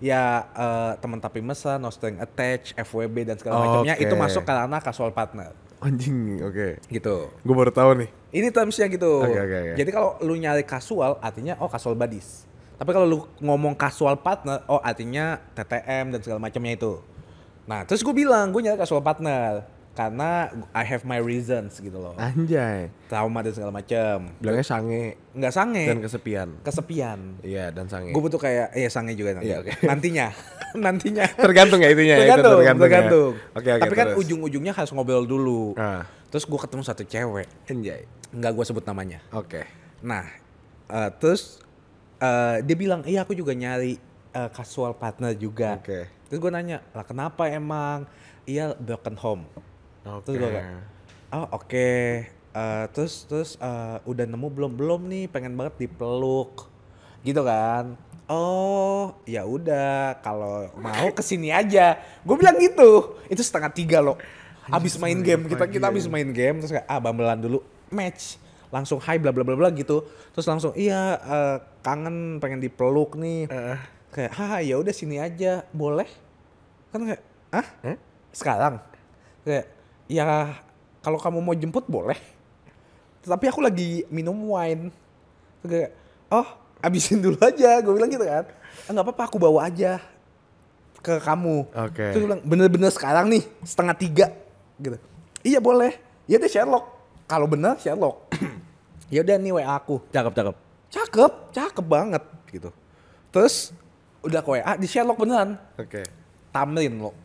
Speaker 2: ya eh, temen tapi mesra, no string attached, FWB dan segala macamnya itu
Speaker 1: Oke.
Speaker 2: masuk ke ranah kasual partner
Speaker 1: anjing oke.
Speaker 2: gitu.
Speaker 1: Gue baru tahu nih.
Speaker 2: Ini termsnya gitu.
Speaker 1: Oke, oke, oke.
Speaker 2: Jadi kalau lu nyari kasual, artinya oh kasual buddies. Tapi kalau lu ngomong kasual partner, oh artinya TTM dan segala macamnya itu. Nah, terus gue bilang gue nyari kasual partner karena I have my reasons gitu loh.
Speaker 1: Anjay.
Speaker 2: Trauma dan segala macam.
Speaker 1: Bilangnya sange
Speaker 2: Nggak sange.
Speaker 1: dan kesepian.
Speaker 2: kesepian.
Speaker 1: Iya, dan sange.
Speaker 2: Gue butuh kayak ya sange juga nanti.
Speaker 1: Iya, oke.
Speaker 2: Nantinya. nantinya.
Speaker 1: tergantung ya itunya ya, itu
Speaker 2: Tergantung,
Speaker 1: ya.
Speaker 2: tergantung.
Speaker 1: Oke, oke.
Speaker 2: Tapi kan
Speaker 1: terus.
Speaker 2: ujung-ujungnya harus ngobrol dulu.
Speaker 1: Ah.
Speaker 2: Terus gue ketemu satu cewek.
Speaker 1: Anjay.
Speaker 2: Nggak gue sebut namanya.
Speaker 1: Oke.
Speaker 2: Nah, eh, terus eh, dia bilang, iya aku juga nyari eh, casual partner juga.
Speaker 1: Oke.
Speaker 2: Terus gue nanya, lah kenapa emang? Iya broken home.
Speaker 1: Oke.
Speaker 2: Terus gue kayak, oh oke. Eh, terus terus eh, udah nemu belum belum nih? Pengen banget dipeluk, gitu kan? Oh ya udah kalau mau kesini aja. Gue bilang gitu. Itu setengah tiga loh. Abis main game kita kita abis main game terus kayak ah bambelan dulu match langsung hai bla bla bla bla gitu terus langsung iya eh, kangen pengen dipeluk nih kayak ha ya udah sini aja boleh kan kayak ah sekarang kayak ya kalau kamu mau jemput boleh tapi aku lagi minum wine Terus kayak oh abisin dulu aja gue bilang gitu kan "Ah, nggak apa-apa aku bawa aja ke kamu
Speaker 1: Oke.
Speaker 2: terus gue bilang bener-bener sekarang nih setengah tiga gitu iya boleh ya deh Sherlock kalau bener Sherlock ya udah nih WA aku
Speaker 1: Cakep, cakep.
Speaker 2: cakep cakep banget gitu terus udah ke WA di Sherlock beneran
Speaker 1: Oke.
Speaker 2: Tamrin lo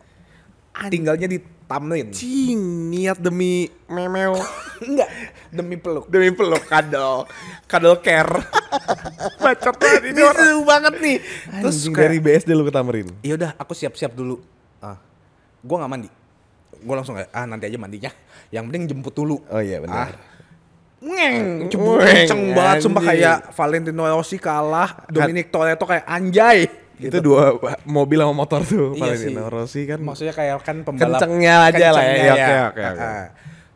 Speaker 2: tinggalnya di Tamrin
Speaker 1: Cing, niat demi memeo.
Speaker 2: enggak demi peluk.
Speaker 1: Demi peluk kadal. Kadal care. Bacot banget ini orang.
Speaker 2: Bisu banget nih.
Speaker 1: Terus
Speaker 2: Anjing,
Speaker 1: dari
Speaker 2: kayak,
Speaker 1: BSD lu ke Tamrin.
Speaker 2: ya udah aku siap-siap dulu. Ah. Gua nggak mandi. Gua langsung kayak, ah nanti aja mandinya. Yang penting jemput dulu.
Speaker 1: Oh iya, benar.
Speaker 2: Ah. Ngeng, cebur
Speaker 1: Ngeng,
Speaker 2: kenceng banget sumpah
Speaker 1: anjing.
Speaker 2: kayak Valentino Rossi kalah, Dominic Toretto kayak anjay. Gitu.
Speaker 1: Itu dua mobil sama motor tuh. paling
Speaker 2: Iya sih.
Speaker 1: Rossi kan.
Speaker 2: maksudnya kayak kan pembalap
Speaker 1: Kencengnya aja lah ya.
Speaker 2: kencengnya
Speaker 1: Oke, oke, oke.
Speaker 2: Ah, ah.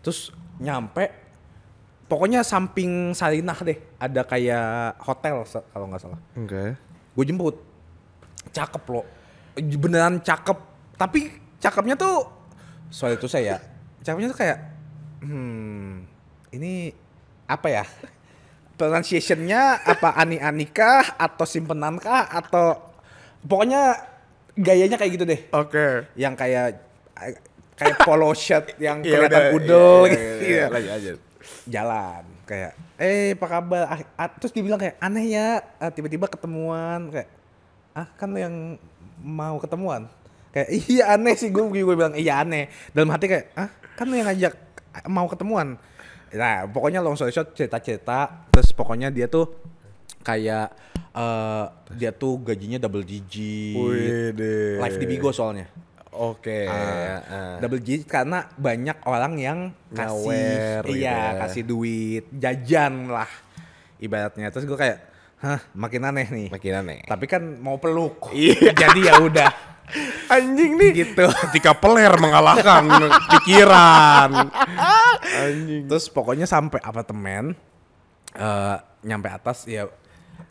Speaker 2: terus nyampe pokoknya samping Sarinah deh ada kayak hotel se- kalau nggak salah
Speaker 1: Enggak.
Speaker 2: gue jemput cakep loh beneran cakep tapi cakepnya tuh soal itu saya ya, cakepnya tuh kayak hmm ini apa ya pronunciationnya apa ani anikah atau simpenankah atau pokoknya gayanya kayak gitu deh
Speaker 1: Oke.
Speaker 2: yang kayak kayak polo shirt yang
Speaker 1: Iya,
Speaker 2: kelihatan
Speaker 1: udah,
Speaker 2: udel
Speaker 1: iya,
Speaker 2: gitu.
Speaker 1: iya, iya,
Speaker 2: Iya.
Speaker 1: lanjut, lanjut.
Speaker 2: Jalan kayak eh apa kabar? Ah, ah, terus dibilang kayak aneh ya ah, tiba-tiba ketemuan kayak ah kan lo yang mau ketemuan. Kayak iya aneh sih gue gue bilang iya aneh. Dalam hati kayak ah kan lo yang ngajak ah, mau ketemuan. Nah, pokoknya long story short cerita-cerita terus pokoknya dia tuh kayak eh, dia tuh gajinya double digit.
Speaker 1: Wih, deh.
Speaker 2: Live di Bigo soalnya.
Speaker 1: Oke.
Speaker 2: Ah,
Speaker 1: ah.
Speaker 2: double digit karena banyak orang yang kasih
Speaker 1: Nyawer gitu
Speaker 2: iya
Speaker 1: ya.
Speaker 2: kasih duit jajan lah ibaratnya terus gue kayak hah makin aneh nih
Speaker 1: Makin aneh.
Speaker 2: tapi kan mau peluk
Speaker 1: Iya.
Speaker 2: jadi ya udah
Speaker 1: Anjing nih.
Speaker 2: gitu
Speaker 1: Ketika peler mengalahkan pikiran. Anjing.
Speaker 2: terus pokoknya sampai apartemen eh nyampe atas ya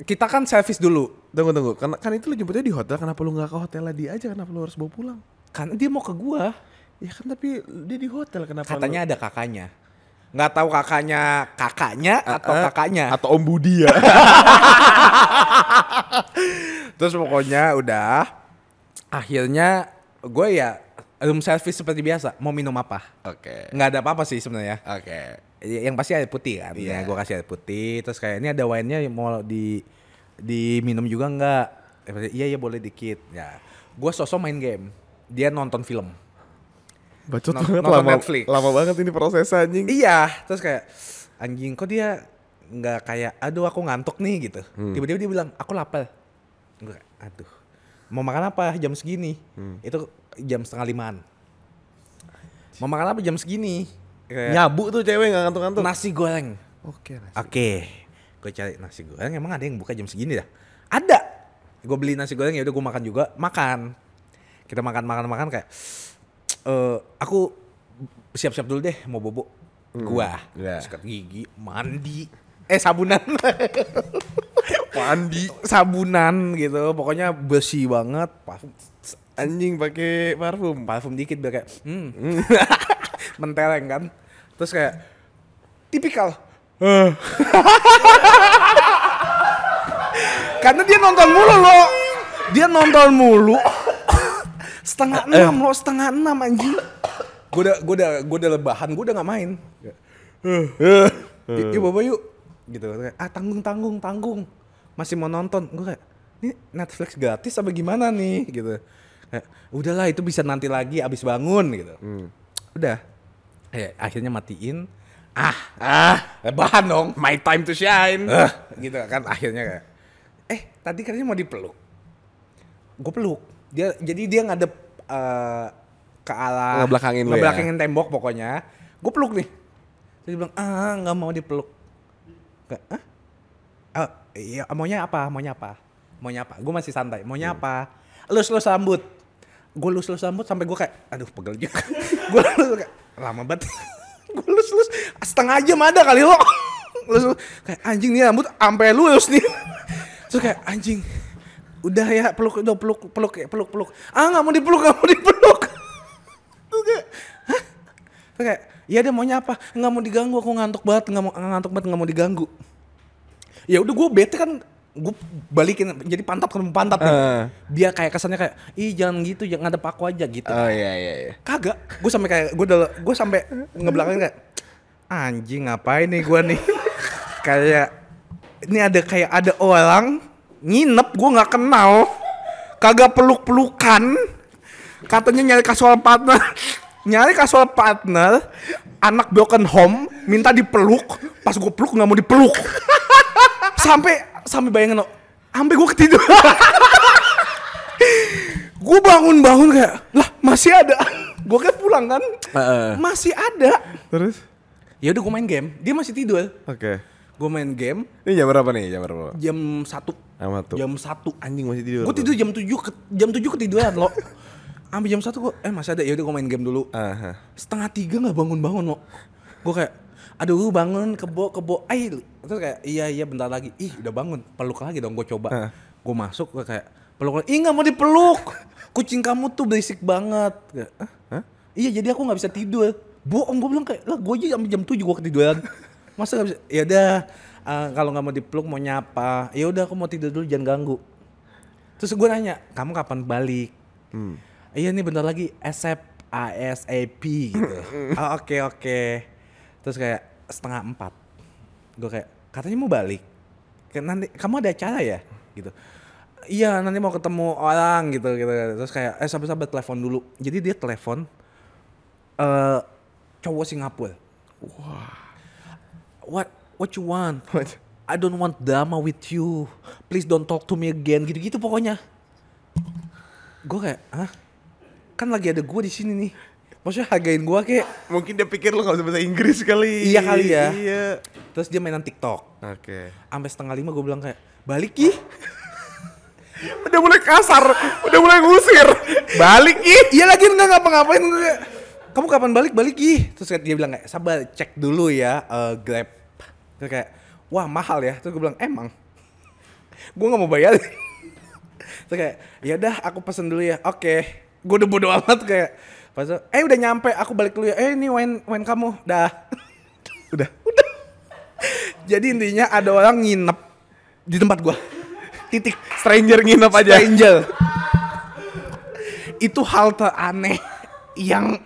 Speaker 2: kita kan servis dulu
Speaker 1: Tunggu tunggu, kan, kan itu lu jemputnya di hotel, kenapa lu nggak ke hotel dia aja? Kenapa lu harus bawa pulang?
Speaker 2: karena dia mau ke gua
Speaker 1: Ya kan tapi dia di hotel, kenapa
Speaker 2: katanya ada kakaknya nggak tahu kakaknya kakaknya atau kakaknya
Speaker 1: atau Om Budi ya?
Speaker 2: Terus pokoknya udah akhirnya gue ya room service seperti biasa mau minum apa
Speaker 1: Oke,
Speaker 2: nggak ada apa-apa sih sebenarnya
Speaker 1: oke.
Speaker 2: Ya, yang pasti air putih kan
Speaker 1: Iya.
Speaker 2: ya gue kasih air putih terus kayak ini ada wine-nya yang mau di diminum juga nggak Ya, pasti, iya iya boleh dikit ya gue sosok main game dia nonton film
Speaker 1: Bacot
Speaker 2: Not-
Speaker 1: banget
Speaker 2: not on
Speaker 1: lama,
Speaker 2: Netflix.
Speaker 1: lama banget ini proses anjing.
Speaker 2: iya terus kayak anjing kok dia nggak kayak aduh aku ngantuk nih gitu tiba-tiba dia bilang aku lapar gue aduh mau makan apa jam segini itu jam setengah limaan mau makan apa jam segini Kayak
Speaker 1: Nyabu tuh cewek nggak ngantuk-ngantuk.
Speaker 2: nasi goreng
Speaker 1: Oke, Nas.
Speaker 2: Oke, gue cari nasi goreng. Emang ada yang buka jam segini dah? Ada. Gue beli nasi goreng ya udah gue makan juga. Makan. Kita makan makan makan kayak. eh aku siap-siap dulu deh mau bobo. Gua
Speaker 1: iya.
Speaker 2: sikat gigi, mandi, eh sabunan,
Speaker 1: mandi.
Speaker 2: sabunan gitu. Pokoknya bersih banget. Parfum,
Speaker 1: Anjing pakai parfum.
Speaker 2: parfum dikit biar kayak hmm. mentereng kan. Terus kayak tipikal. Karena dia nonton mulu loh. Dia nonton mulu. setengah enam loh, setengah enam anjing. Gue Eh. udah, gue udah, gue udah lebahan, gue udah nggak main. Eh. Y- Yuk bapak yuk, gitu. Kayak, Ah tanggung tanggung tanggung, masih mau nonton. Gue kayak, ini Netflix gratis apa gimana nih, gitu. Kayak, udahlah itu bisa nanti lagi abis bangun gitu. Udah, Eh, akhirnya matiin. Ah, ah, lebahan dong.
Speaker 1: My time to shine.
Speaker 2: Eh, gitu kan akhirnya kayak eh tadi katanya mau dipeluk gue peluk dia jadi dia ngadep eh, ke arah
Speaker 1: Ngebelakangin lu ya?
Speaker 2: ngebelakangin tembok pokoknya gue peluk nih terus dia bilang ah nggak mau dipeluk Kayak, ah Ah, iya maunya apa maunya apa maunya apa gue masih santai maunya apa lus lus rambut gue lus lus rambut sampai gue kayak aduh pegel juga gue lus kayak lama banget gue lus lus setengah jam ada kali lo lus, lus. kayak anjing nih rambut sampai lulus nih terus kayak anjing udah ya peluk udah peluk peluk ya peluk peluk ah nggak mau dipeluk nggak mau dipeluk terus kayak hah terus kayak iya deh maunya apa nggak mau diganggu aku ngantuk banget nggak mau ngantuk banget nggak mau diganggu ya udah gue bete kan gue balikin jadi pantat ketemu pantat nih.
Speaker 1: Eh.
Speaker 2: Dia kayak kesannya kayak ih jangan gitu jangan ngadep aku aja gitu.
Speaker 1: Oh iya iya iya.
Speaker 2: Kagak, gue sampai kayak gue udah gue sampai ngebelakangin kayak anjing ngapain nih gue nih kayak ini ada kayak ada orang nginep gue nggak kenal kagak peluk pelukan katanya nyari casual partner nyari casual partner anak broken home minta dipeluk pas gue peluk nggak mau dipeluk sampai sampai bayangin lo sampai gue ketiduran gue bangun bangun kayak lah masih ada gue kan pulang kan
Speaker 1: Heeh.
Speaker 2: masih ada
Speaker 1: Terus?
Speaker 2: ya udah gue main game dia masih tidur
Speaker 1: Oke.
Speaker 2: gue main game
Speaker 1: Ini jam berapa nih? Jam berapa?
Speaker 2: jam satu
Speaker 1: Sama tuh.
Speaker 2: jam satu
Speaker 1: Anjing masih tidur.
Speaker 2: gue tidur jam 7 ke, jam 7 ketiduran lo ambil jam satu gue eh masih ada ya udah gue main game dulu
Speaker 1: Aha.
Speaker 2: setengah tiga nggak bangun bangun lo gue kayak aduh bangun kebo kebo ay terus kayak iya iya bentar lagi ih udah bangun peluk lagi dong gue coba
Speaker 1: Heeh.
Speaker 2: gue masuk gue kayak peluk lagi ih nggak mau dipeluk kucing kamu tuh berisik banget Kayak, "Hah? iya jadi aku nggak bisa tidur bohong gue bilang kayak lah gue aja sampai jam tujuh gue ketiduran masa nggak bisa ya udah eh, kalau nggak mau dipeluk mau nyapa ya udah aku mau tidur dulu jangan ganggu terus gue nanya kamu kapan balik
Speaker 1: Hmm.
Speaker 2: Iya nih bentar lagi ASAP ASAP gitu. Oh, Oke oke. Terus kayak setengah empat. Gue kayak katanya mau balik. Kayak nanti kamu ada acara ya gitu. Iya nanti mau ketemu orang gitu gitu. Terus kayak eh sabar-sabar telepon dulu. Jadi dia telepon eh cowok Singapura. Wah. What what you want?
Speaker 1: What-
Speaker 2: I don't want drama with you. Please don't talk to me again. Gitu-gitu pokoknya. Gue kayak, hah? Kan lagi ada gue di sini nih. Maksudnya hargain gue kayak.
Speaker 1: Mungkin dia pikir lu gak bisa bahasa Inggris kali.
Speaker 2: Iya kali ya.
Speaker 1: Iya.
Speaker 2: Terus dia mainan TikTok.
Speaker 1: Oke.
Speaker 2: Sampai setengah lima gue bilang kayak, balik ih.
Speaker 1: Udah mulai kasar, udah mulai ngusir. Balik ih.
Speaker 2: Iya lagi nggak ngapa-ngapain. Gua kayak, Kamu kapan balik? Balik ih. Terus kayak dia bilang kayak, sabar cek dulu ya eh, Grab. Terus kayak, wah mahal ya. Terus gue bilang, emang. gue nggak mau bayar. Terus kayak, ya udah aku pesen dulu ya. Oke. Gue udah bodo amat kayak. Pas itu, eh udah nyampe, aku balik dulu ya. Eh ini wine, wine kamu. Dah.
Speaker 1: Udah.
Speaker 2: Jadi intinya ada orang nginep di tempat gua. Titik.
Speaker 1: Stranger nginep aja.
Speaker 2: Stranger. Itu hal teraneh yang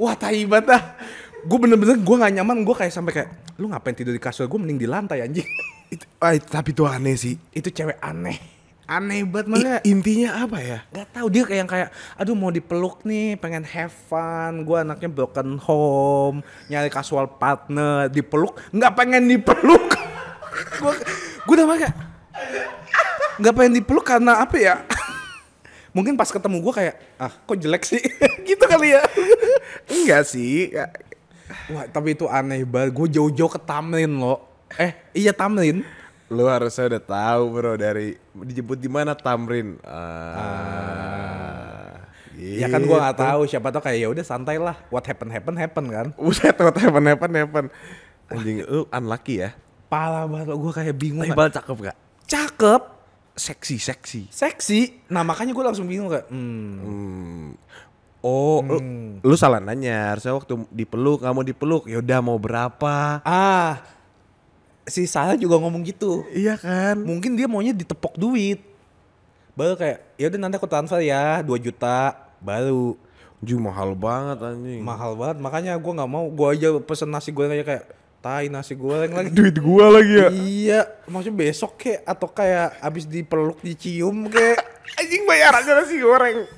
Speaker 2: wah tai banget dah. Gue bener-bener gue gak nyaman, gue kayak sampai kayak lu ngapain tidur di kasur gue mending di lantai anjing.
Speaker 1: Itu- ah, tapi itu aneh sih.
Speaker 2: Itu cewek aneh. Aneh
Speaker 1: I-
Speaker 2: banget malah.
Speaker 1: intinya apa ya?
Speaker 2: Gak tau dia kayak yang kayak aduh mau dipeluk nih pengen have fun gue anaknya broken home nyari casual partner dipeluk nggak pengen dipeluk gue gue udah kayak nggak pengen dipeluk karena apa ya mungkin pas ketemu gue kayak ah kok jelek sih gitu kali ya
Speaker 1: Enggak sih. ya,
Speaker 2: wah tapi itu aneh banget gue jauh-jauh ke Tamrin lo eh iya Tamrin
Speaker 1: Lu harusnya udah tahu bro dari dijemput di mana Tamrin. Ah.
Speaker 2: ya kan gue nggak
Speaker 1: gitu.
Speaker 2: tahu siapa tau kayak ya udah santai lah what happen happen happen kan
Speaker 1: Buset, what happen happen happen. Anjing lu unlucky ya.
Speaker 2: parah banget gue kayak bingung
Speaker 1: Ibal cakep gak?
Speaker 2: cakep,
Speaker 1: Seksi seksi.
Speaker 2: seksi. Nah makanya gue langsung bingung kayak, hmm.
Speaker 1: Hmm. Oh, lu, lu salah nanya. Harusnya waktu dipeluk, nggak mau dipeluk. Yaudah mau berapa?
Speaker 2: ah si Sarah juga ngomong gitu.
Speaker 1: Iya kan?
Speaker 2: Mungkin dia maunya ditepok duit. Baru kayak, ya udah nanti aku transfer ya 2 juta. Baru
Speaker 1: Ju mahal banget anjing.
Speaker 2: mahal banget. Makanya gue nggak mau. Gue aja pesen nasi goreng aja kayak, tai nasi goreng lagi.
Speaker 1: Duit gua lagi ya.
Speaker 2: Iya, maksudnya besok kek atau kayak abis dipeluk dicium kek.
Speaker 1: Anjing bayarannya nasi goreng.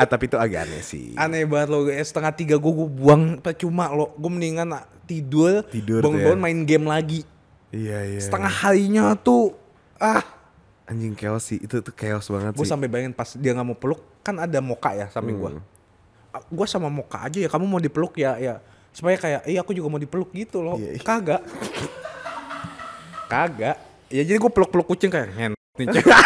Speaker 1: ah, tapi itu agak aneh sih.
Speaker 2: Aneh banget lo, eh, setengah tiga gue, gue buang percuma lo. Gue mendingan ah, tidur,
Speaker 1: Tidur tuh
Speaker 2: bangun-bangun
Speaker 1: ya.
Speaker 2: main game lagi.
Speaker 1: iya, iya.
Speaker 2: setengah harinya tuh ah
Speaker 1: Anjing chaos sih. Itu tuh chaos banget
Speaker 2: gue
Speaker 1: sih.
Speaker 2: sampai bayangin pas dia nggak mau peluk kan ada moka ya samping gua gue gue sama moka aja ya kamu mau dipeluk ya ya supaya kayak iya aku juga mau dipeluk gitu loh
Speaker 1: Iya, iya.
Speaker 2: kagak kagak ya jadi gue peluk peluk kucing kayak ngen nih cewek."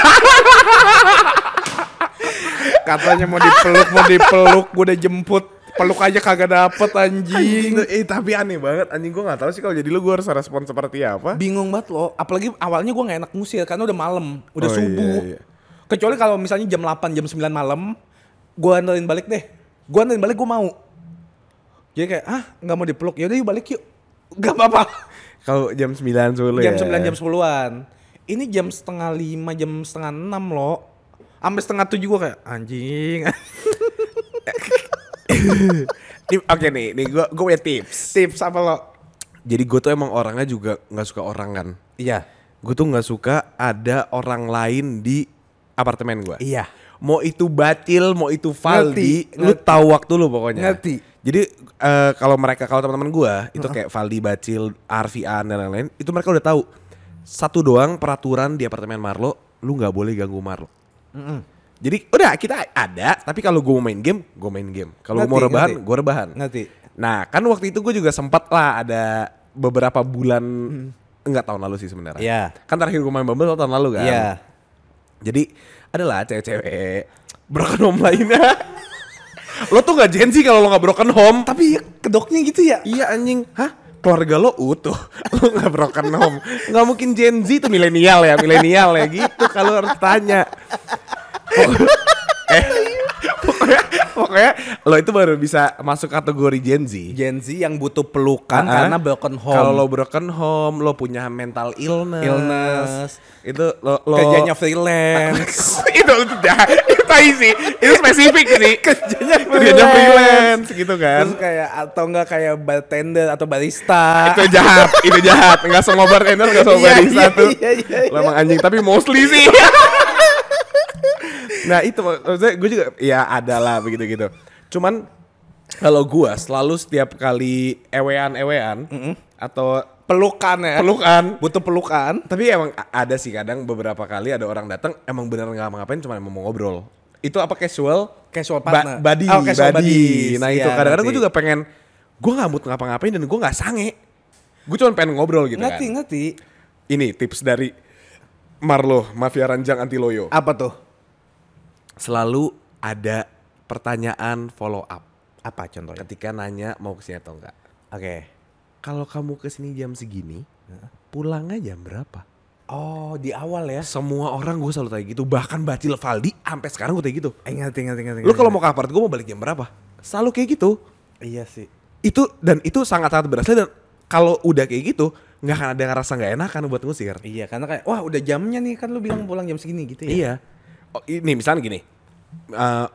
Speaker 2: katanya mau dipeluk mau dipeluk gue udah jemput peluk aja kagak dapet anjing
Speaker 1: Anjing, tuh- eh tapi aneh banget. Anjing gua nggak tahu sih kalau jadi lu gua harus respon seperti apa.
Speaker 2: bingung banget loh apalagi awalnya gue nggak enak ngusir karena udah malam udah
Speaker 1: Oh, iya,
Speaker 2: subuh
Speaker 1: iya.
Speaker 2: kecuali kalau misalnya jam 8 jam 9 malam gue anterin balik deh gue anterin balik gue mau jadi kayak ah nggak mau dipeluk yaudah yuk balik yuk Gak apa-apa
Speaker 1: Kalau jam 9 sore
Speaker 2: jam
Speaker 1: ya.
Speaker 2: 9 jam 10-an ini jam setengah 5 jam setengah 6 loh sampai setengah 7 gue kayak anjing
Speaker 1: Nih, Oke nih, nih gua gua punya tips.
Speaker 2: tips apa lo
Speaker 1: Jadi gua tuh emang orangnya juga nggak suka orang kan.
Speaker 2: iya
Speaker 1: Gue tuh nggak suka ada orang lain di apartemen gua.
Speaker 2: iya
Speaker 1: Mau itu Batil, mau itu Valdi,
Speaker 2: Ngerti,
Speaker 1: lu
Speaker 2: ngerti.
Speaker 1: tahu waktu lu pokoknya.
Speaker 2: Ngerti.
Speaker 1: Jadi eh, kalau mereka kalau teman-teman gua itu kayak Valdi Bacil, Arfian dan lain-lain, itu mereka udah tahu satu doang peraturan di apartemen Marlo, lu nggak boleh ganggu Marlo. Jadi udah kita ada, tapi kalau gua mau main game, gua main game. Kalau gua mau
Speaker 2: Ngerti,
Speaker 1: rebahan,
Speaker 2: ngerti.
Speaker 1: gua rebahan.
Speaker 2: Ngerti.
Speaker 1: Nah, kan waktu itu gue juga sempat lah ada beberapa bulan enggak tahun lalu sih sebenarnya.
Speaker 2: Iya.
Speaker 1: Kan terakhir gue main Bumble tahun lalu kan.
Speaker 2: Iya.
Speaker 1: Jadi adalah cewek-cewek broken home lainnya. lo tuh nggak Gen Z kalau lo nggak broken home.
Speaker 2: Tapi ya, kedoknya gitu ya.
Speaker 1: Iya anjing, hah? Keluarga lo utuh, lo nggak broken home. Nggak mungkin Gen Z tuh milenial ya, milenial ya gitu. Kalau harus tanya. Pok- eh, pokoknya, pokoknya lo itu baru bisa masuk kategori Gen Z.
Speaker 2: Gen Z yang butuh pelukan
Speaker 1: Ah,
Speaker 2: Kan karena broken home.
Speaker 1: Kalau lo broken home, lo punya mental illness.
Speaker 2: Illness.
Speaker 1: Itu lo, lo
Speaker 2: kerjanya freelance.
Speaker 1: itu udah itu sih. Itu spesifik sih. kerjanya kerjanya freelance gitu kan.
Speaker 2: Terus kayak atau enggak kayak bartender atau barista.
Speaker 1: itu jahat, itu jahat. Enggak semua bartender, enggak semua
Speaker 2: Iya,
Speaker 1: barista
Speaker 2: iya,
Speaker 1: tuh.
Speaker 2: iya, iya,
Speaker 1: Lo emang anjing, tapi mostly sih. nah itu mak- maksudnya gue juga ya adalah begitu-gitu. Cuman kalau gue selalu setiap kali ewean-ewean atau
Speaker 2: pelukan ya.
Speaker 1: pelukan
Speaker 2: butuh pelukan.
Speaker 1: tapi emang a- ada sih kadang beberapa kali ada orang datang emang bener nggak mau ngapain cuma emang mau ngobrol itu apa casual
Speaker 2: Casual partner.
Speaker 1: ba body,
Speaker 2: Oh, casual
Speaker 1: body.
Speaker 2: buddies.
Speaker 1: nah itu
Speaker 2: Iya,
Speaker 1: kadang-kadang gue juga
Speaker 2: ngerti.
Speaker 1: pengen gue nggak mood ngapa-ngapain dan gue nggak sange gue cuma pengen ngobrol gitu
Speaker 2: ngerti,
Speaker 1: kan
Speaker 2: ngerti.
Speaker 1: ini tips dari Marlo Mafia Ranjang Antiloyo
Speaker 2: Apa tuh?
Speaker 1: selalu ada pertanyaan follow up
Speaker 2: Apa contohnya?
Speaker 1: ketika nanya mau kesini atau enggak
Speaker 2: Oke.
Speaker 1: kalau kamu kesini jam segini pulangnya jam berapa
Speaker 2: Oh, di awal ya.
Speaker 1: Semua orang gue selalu tanya gitu. Bahkan Bacil Valdi sampai sekarang gue tanya gitu.
Speaker 2: Ingat, ingat, ingat,
Speaker 1: Lu kalau mau ke apart gue mau balik jam berapa? Selalu kayak gitu.
Speaker 2: Iya sih.
Speaker 1: Itu dan itu sangat-sangat berhasil dan kalau udah kayak gitu nggak akan ada rasa nggak enakan buat ngusir.
Speaker 2: Iya, karena kayak wah udah jamnya nih kan lu bilang pulang jam segini gitu ya.
Speaker 1: Iya. Oh, ini misalnya gini. Eh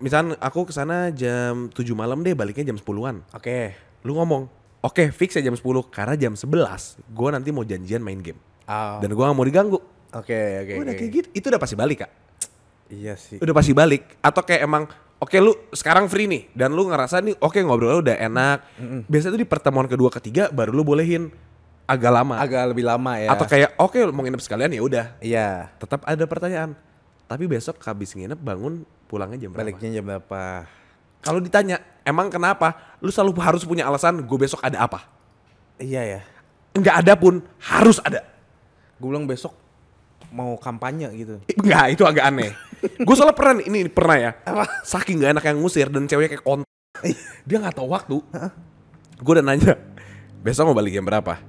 Speaker 1: misalnya aku kesana jam 7 malam deh baliknya jam 10-an.
Speaker 2: Oke.
Speaker 1: Lu ngomong, "Oke, fix ya jam 10 karena jam 11 gue nanti mau janjian main game."
Speaker 2: Ah.
Speaker 1: Dan gue gak mau diganggu.
Speaker 2: Oke, oke.
Speaker 1: udah
Speaker 2: oke.
Speaker 1: kayak gitu, itu udah pasti balik, Kak.
Speaker 2: Iya sih.
Speaker 1: udah pasti balik atau kayak emang oke lu sekarang free nih dan lu ngerasa nih oke ngobrolnya udah enak biasanya tuh di pertemuan kedua ketiga baru lu bolehin agak lama
Speaker 2: Agak lebih lama ya.
Speaker 1: atau kayak oke mau nginep sekalian ya udah
Speaker 2: Iya.
Speaker 1: tetap ada pertanyaan tapi besok habis nginep bangun pulangnya jam berapa
Speaker 2: Baliknya jam berapa?
Speaker 1: kalau ditanya emang kenapa lu selalu harus punya alasan gue besok ada apa
Speaker 2: Iya ya.
Speaker 1: nggak ada pun harus ada
Speaker 2: Gue bilang besok mau kampanye gitu.
Speaker 1: Eh, Enggak, itu agak aneh. gue soalnya pernah nih- ini pernah ya. Saking gak enak yang ngusir dan cewek kayak kont. Dia nggak tahu waktu. gue udah nanya, besok mau balik jam berapa?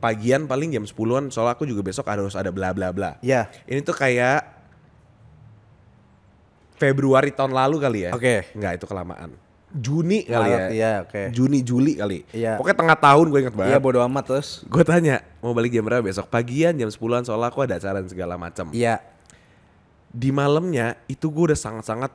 Speaker 1: Pagian paling jam 10-an, soalnya aku juga besok harus ada bla bla bla.
Speaker 2: Iya.
Speaker 1: Ini tuh kayak Februari tahun lalu kali ya.
Speaker 2: Oke.
Speaker 1: Enggak, itu kelamaan. Juni kali
Speaker 2: Maret,
Speaker 1: ya.
Speaker 2: iya, oke.
Speaker 1: Juni Juli kali.
Speaker 2: Iya.
Speaker 1: Pokoknya tengah tahun gue inget banget.
Speaker 2: Iya bodo amat terus.
Speaker 1: Gue tanya, mau balik jam berapa besok? Pagian jam 10-an soalnya aku ada acara dan segala macam
Speaker 2: Iya.
Speaker 1: di malamnya itu gue udah sangat-sangat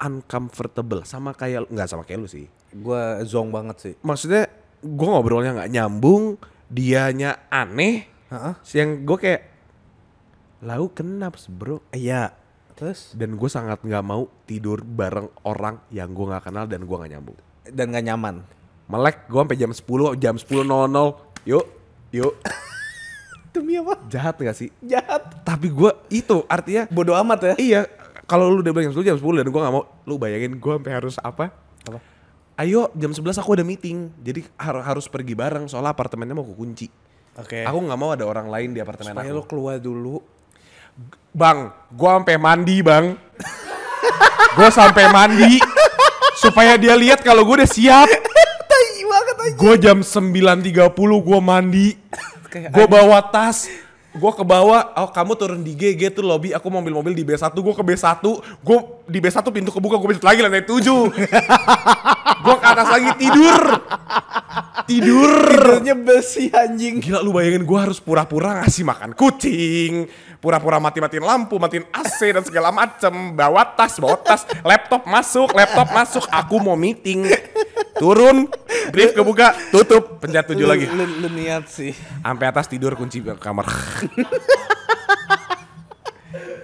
Speaker 1: uncomfortable sama kayak nggak sama kayak lu sih
Speaker 2: Gue zong banget sih.
Speaker 1: maksudnya gue ngobrolnya nggak nyambung dianya aneh
Speaker 2: Heeh.
Speaker 1: siang gue kayak lau kenapa sih, bro
Speaker 2: Iya. Terus
Speaker 1: dan gue sangat nggak mau tidur bareng orang yang gue nggak kenal dan gue nggak nyambung
Speaker 2: dan gak nyaman.
Speaker 1: melek gue sampai jam 10 jam 10.00 yuk yuk
Speaker 2: Demi apa?
Speaker 1: jahat nggak sih
Speaker 2: Jahat.
Speaker 1: tapi gue itu artinya
Speaker 2: Bodo amat ya.
Speaker 1: Iya, kalau lu udah bilang jam 10 jam 10 dan gua nggak mau, lu bayangin gua sampai harus apa?
Speaker 2: Apa?
Speaker 1: Ayo jam 11 aku ada meeting. Jadi har- harus pergi bareng soalnya apartemennya mau aku kunci.
Speaker 2: Oke.
Speaker 1: Aku nggak mau ada orang lain di apartemen
Speaker 2: Eh. Supaya
Speaker 1: aku.
Speaker 2: lo keluar dulu.
Speaker 1: Bang, gua sampai mandi, Bang. gua sampai mandi supaya dia lihat kalau gua udah siap.
Speaker 2: Tai banget aja.
Speaker 1: Gua jam 9.30 gua mandi.
Speaker 2: Kayak
Speaker 1: Gua bawa tas. Gua ke bawah, oh kamu turun di GG tuh lobby, aku mau ambil mobil di B1, gua ke B1, gua di B1 pintu kebuka, gua bisa lagi lantai 7. gua ke atas lagi tidur. Tidur.
Speaker 2: Tidurnya bersih anjing.
Speaker 1: Gila lu bayangin gua harus pura-pura ngasih makan kucing, pura-pura mati-matiin lampu, matiin AC dan segala macem, bawa tas, bawa tas, laptop masuk, laptop masuk, aku mau meeting. Turun, brief kebuka, tutup, pencet 7
Speaker 2: Lu-
Speaker 1: lagi.
Speaker 2: Lu, lu niat sih.
Speaker 1: Sampai atas tidur kunci kamar.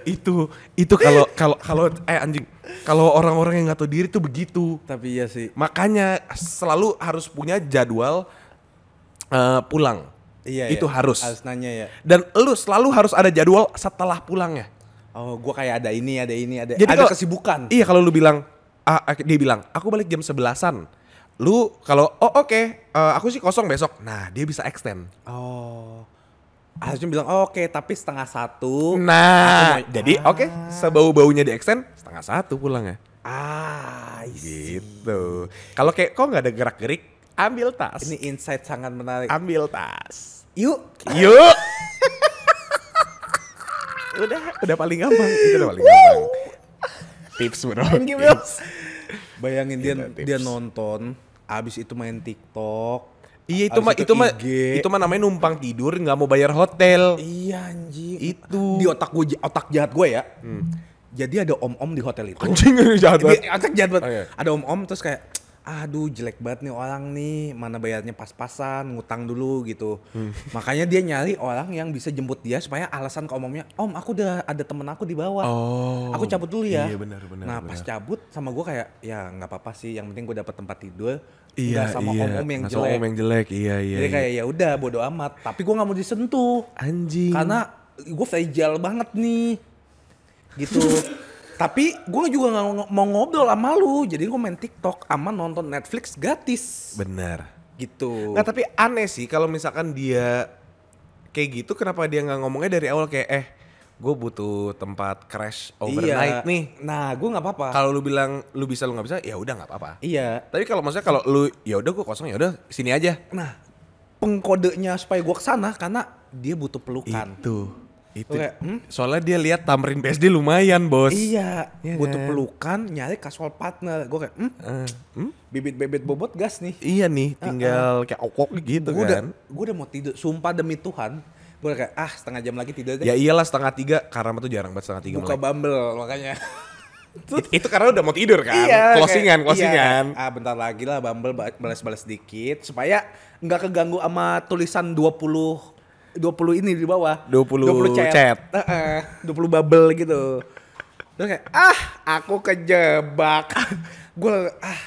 Speaker 1: itu itu kalau kalau kalau eh anjing kalau orang-orang yang nggak tahu diri tuh begitu
Speaker 2: Tapi iya sih.
Speaker 1: makanya selalu harus punya jadwal eh, pulang
Speaker 2: Iya.
Speaker 1: itu
Speaker 2: iya.
Speaker 1: harus
Speaker 2: Harus nanya ya.
Speaker 1: dan lu selalu harus ada jadwal setelah pulangnya
Speaker 2: Oh, gua kayak ada ini, ada ini, ada
Speaker 1: Jadi
Speaker 2: ada
Speaker 1: kalau-
Speaker 2: kesibukan.
Speaker 1: Iya kalau lu bilang ah, ah, dia bilang aku balik jam 11-an. Lu kalau oh oke eh, aku sih kosong besok. Nah, dia bisa extend.
Speaker 2: Oh. Harusnya bilang "Oh, oke, tapi setengah satu.
Speaker 1: Nah,
Speaker 2: Aku mau-
Speaker 1: jadi
Speaker 2: Ah.
Speaker 1: oke sebau-baunya di extend setengah satu pulang ya.
Speaker 2: Ah, I see.
Speaker 1: Gitu. Kalau kayak kok nggak ada gerak-gerik, ambil tas.
Speaker 2: ini insight sangat menarik.
Speaker 1: ambil tas.
Speaker 2: Yuk,
Speaker 1: Yuk. udah, udah paling gampang. Itu udah paling gampang. Tips bro.
Speaker 2: Thank you, bro. Bayangin dia
Speaker 1: Kita tips.
Speaker 2: dia nonton, abis itu main TikTok.
Speaker 1: Iya itu
Speaker 2: abis
Speaker 1: mah itu mah
Speaker 2: IG.
Speaker 1: itu mah namanya numpang tidur nggak mau bayar hotel.
Speaker 2: Iya anjing.
Speaker 1: Itu.
Speaker 2: Di otak gue otak jahat gue ya. Jadi ada om-om di hotel itu.
Speaker 1: Anjing ini jahat
Speaker 2: Di,
Speaker 1: banget.
Speaker 2: otak jahat banget.
Speaker 1: Oh, iya.
Speaker 2: Ada om-om terus kayak aduh jelek banget nih orang nih, mana bayarnya pas-pasan, ngutang dulu gitu.
Speaker 1: Hmm.
Speaker 2: Makanya dia nyari orang yang bisa jemput dia supaya alasan ke om-omnya, "Om, aku udah ada temen aku di bawah."
Speaker 1: Oh.
Speaker 2: aku cabut dulu ya.
Speaker 1: Iya, benar, benar,
Speaker 2: Nah
Speaker 1: benar.
Speaker 2: pas cabut sama gue kayak ya nggak apa-apa sih, yang penting gue dapet tempat tidur.
Speaker 1: Iya,
Speaker 2: nggak sama
Speaker 1: iya.
Speaker 2: om-om yang
Speaker 1: Nggak sama
Speaker 2: jelek.
Speaker 1: om yang jelek, iya, iya.
Speaker 2: Jadi
Speaker 1: iya.
Speaker 2: kayak ya udah bodo amat. Tapi gue nggak mau disentuh
Speaker 1: anjing.
Speaker 2: karena gue fragile banget nih, gitu. Tapi gue juga nggak ngo- mau ngobrol sama lu, jadi gue main TikTok, sama nonton Netflix gratis,
Speaker 1: benar.
Speaker 2: gitu.
Speaker 1: Nggak, Nah, tapi aneh sih kalau misalkan dia kayak gitu kenapa dia nggak ngomongnya dari awal kayak eh gue butuh tempat crash overnight nih.
Speaker 2: Iya. Nah gue nggak apa-apa.
Speaker 1: Kalau lu bilang lu bisa lu nggak bisa, ya udah nggak apa-apa.
Speaker 2: Iya.
Speaker 1: Tapi kalau maksudnya kalau lu ya udah gue kosong ya udah sini aja.
Speaker 2: Nah pengkodenya supaya gue kesana karena dia butuh pelukan.
Speaker 1: Itu. Itu.
Speaker 2: kan. Oke, hmm?
Speaker 1: Soalnya dia lihat tamrin PSD lumayan, Bos.
Speaker 2: Iya,
Speaker 1: Iya
Speaker 2: butuh
Speaker 1: kan?
Speaker 2: pelukan, nyari casual partner. Gue kayak, hmm,
Speaker 1: Eh, hmm?
Speaker 2: bibit-bibit bobot gas nih.
Speaker 1: Iya nih, tinggal kayak okok gitu
Speaker 2: Gue udah,
Speaker 1: kan.
Speaker 2: gue udah mau tidur. Sumpah demi Tuhan, gue kayak, ah setengah jam lagi tidur deh.
Speaker 1: Ya iyalah setengah tiga, karena tuh jarang banget setengah tiga
Speaker 2: Buka
Speaker 1: melek.
Speaker 2: Bumble makanya.
Speaker 1: It- Itu karena udah mau tidur kan,
Speaker 2: Iya, kayak,
Speaker 1: closingan, closingan.
Speaker 2: iya. Ah bentar lagi lah Bumble ba- balas-balas dikit supaya nggak keganggu sama tulisan 20 20 ini di bawah
Speaker 1: 20 chat.
Speaker 2: chat, Heeh, 20 bubble gitu terus kayak ah aku kejebak gue ah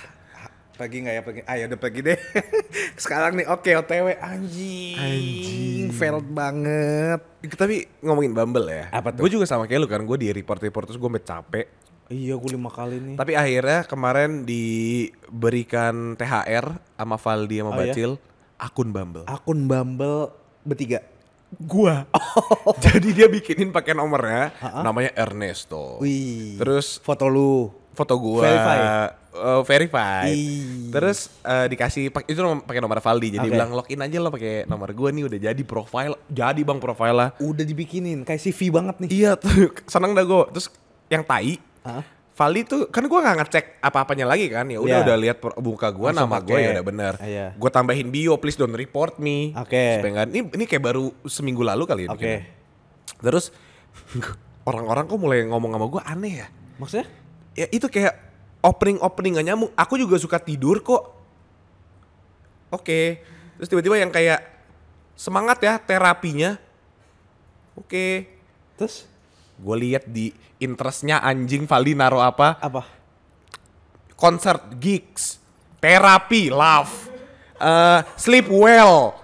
Speaker 2: pergi nggak ya pergi ah ya udah pergi deh sekarang nih oke otw anjing anjing failed banget
Speaker 1: Tapi ngomongin Bumble ya,
Speaker 2: Apa tuh?
Speaker 1: gue juga sama kayak lu kan, gue di report-report terus gue capek.
Speaker 2: iya gue lima kali nih
Speaker 1: Tapi akhirnya kemarin diberikan THR sama Valdi sama
Speaker 2: Oh, iya?
Speaker 1: Bacil, akun Bumble.
Speaker 2: akun Bumble bertiga
Speaker 1: Gua. Jadi dia bikinin pakai nomornya, namanya Ernesto. Oh.
Speaker 2: wih
Speaker 1: Terus
Speaker 2: foto lu
Speaker 1: foto gua
Speaker 2: Verify.
Speaker 1: eh, verify.
Speaker 2: Ih.
Speaker 1: Terus eh, dikasih pak- itu nom- pakai nomor Valdi. Jadi
Speaker 2: Oke.
Speaker 1: bilang login aja lo pakai nomor gua nih udah jadi profile. Jadi Bang profile lah.
Speaker 2: udah dibikinin kayak CV banget nih.
Speaker 1: Iya, tuh, seneng dah gua. Terus yang tai
Speaker 2: Hah?
Speaker 1: Valdi tuh kan gua nggak ngecek apa-apanya lagi kan. Ya udah
Speaker 2: Iya.
Speaker 1: udah lihat pro- muka gua
Speaker 2: Langsung
Speaker 1: nama gua
Speaker 2: pakai.
Speaker 1: ya udah bener.
Speaker 2: Iya.
Speaker 1: Gua tambahin bio please don't report me.
Speaker 2: Oke.
Speaker 1: Supaya nggak- ini ini kayak baru seminggu lalu kali ya
Speaker 2: Oke.
Speaker 1: bikinnya. Terus orang-orang kok mulai ngomong sama gua aneh ya.
Speaker 2: Maksudnya?
Speaker 1: ya itu kayak opening opening gak nyamuk aku juga suka tidur kok oke terus tiba-tiba yang kayak semangat ya terapinya oke
Speaker 2: Terus
Speaker 1: gue lihat di interestnya anjing Valdi naro apa
Speaker 2: apa?
Speaker 1: concert gigs terapi love eh, sleep well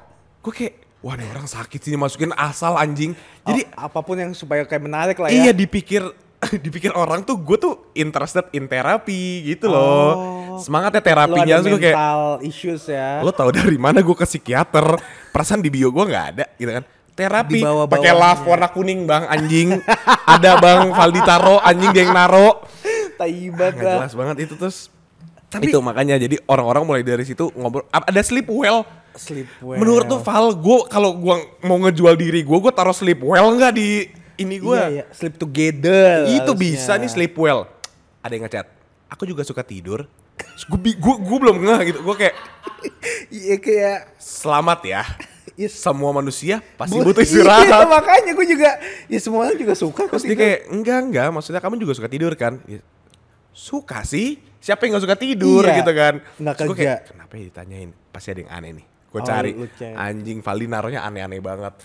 Speaker 1: gue kayak wah ini orang sakit sih masukin asal anjing jadi
Speaker 2: Jadi apapun yang supaya kayak menarik lah
Speaker 1: Iya
Speaker 2: Oh, ya.
Speaker 1: dipikir dipikir orang tuh gue tuh interested in terapi gitu loh.
Speaker 2: Oh.
Speaker 1: Semangatnya
Speaker 2: Lu ada
Speaker 1: terapinya tuh kayak
Speaker 2: mental issues ya.
Speaker 1: lo tau dari mana gue ke psikiater perasaan di bio gue nggak ada gitu kan terapi
Speaker 2: Di bawah-bawahnya.
Speaker 1: pakai love warna kuning bang anjing ada bang Valdi taro anjing dia yang naro
Speaker 2: Tai
Speaker 1: Ah, nggak
Speaker 2: banget lah.
Speaker 1: jelas banget itu terus
Speaker 2: Tapi-
Speaker 1: itu makanya jadi orang-orang mulai dari situ ngobrol A- ada sleep well
Speaker 2: Sleep well.
Speaker 1: menurut tuh Val gue kalau gue mau ngejual diri gue gue taruh sleep well nggak di ini gue
Speaker 2: Iya, iya. sleep together.
Speaker 1: itu
Speaker 2: harusnya.
Speaker 1: bisa nih sleep well. Ada yang ngechat. Aku juga suka tidur. Gue gue belum ngeh gitu. Gue kayak
Speaker 2: Iya kayak
Speaker 1: selamat ya.
Speaker 2: Iya.
Speaker 1: Semua manusia pasti
Speaker 2: Bu-
Speaker 1: butuh
Speaker 2: Iya,
Speaker 1: istirahat.
Speaker 2: makanya gue juga ya semua orang juga suka kok
Speaker 1: Terus dia
Speaker 2: tidur.
Speaker 1: kayak enggak enggak. Maksudnya kamu juga suka tidur kan? Ya, Suka sih. Siapa yang gak suka tidur
Speaker 2: Iya,
Speaker 1: gitu kan?
Speaker 2: nggak
Speaker 1: Terus gua
Speaker 2: kerja.
Speaker 1: kayak, Kenapa ya ditanyain? Pasti ada yang aneh nih. Gue
Speaker 2: Oh,
Speaker 1: cari
Speaker 2: lu cek.
Speaker 1: anjing Valdi naruhnya aneh-aneh banget.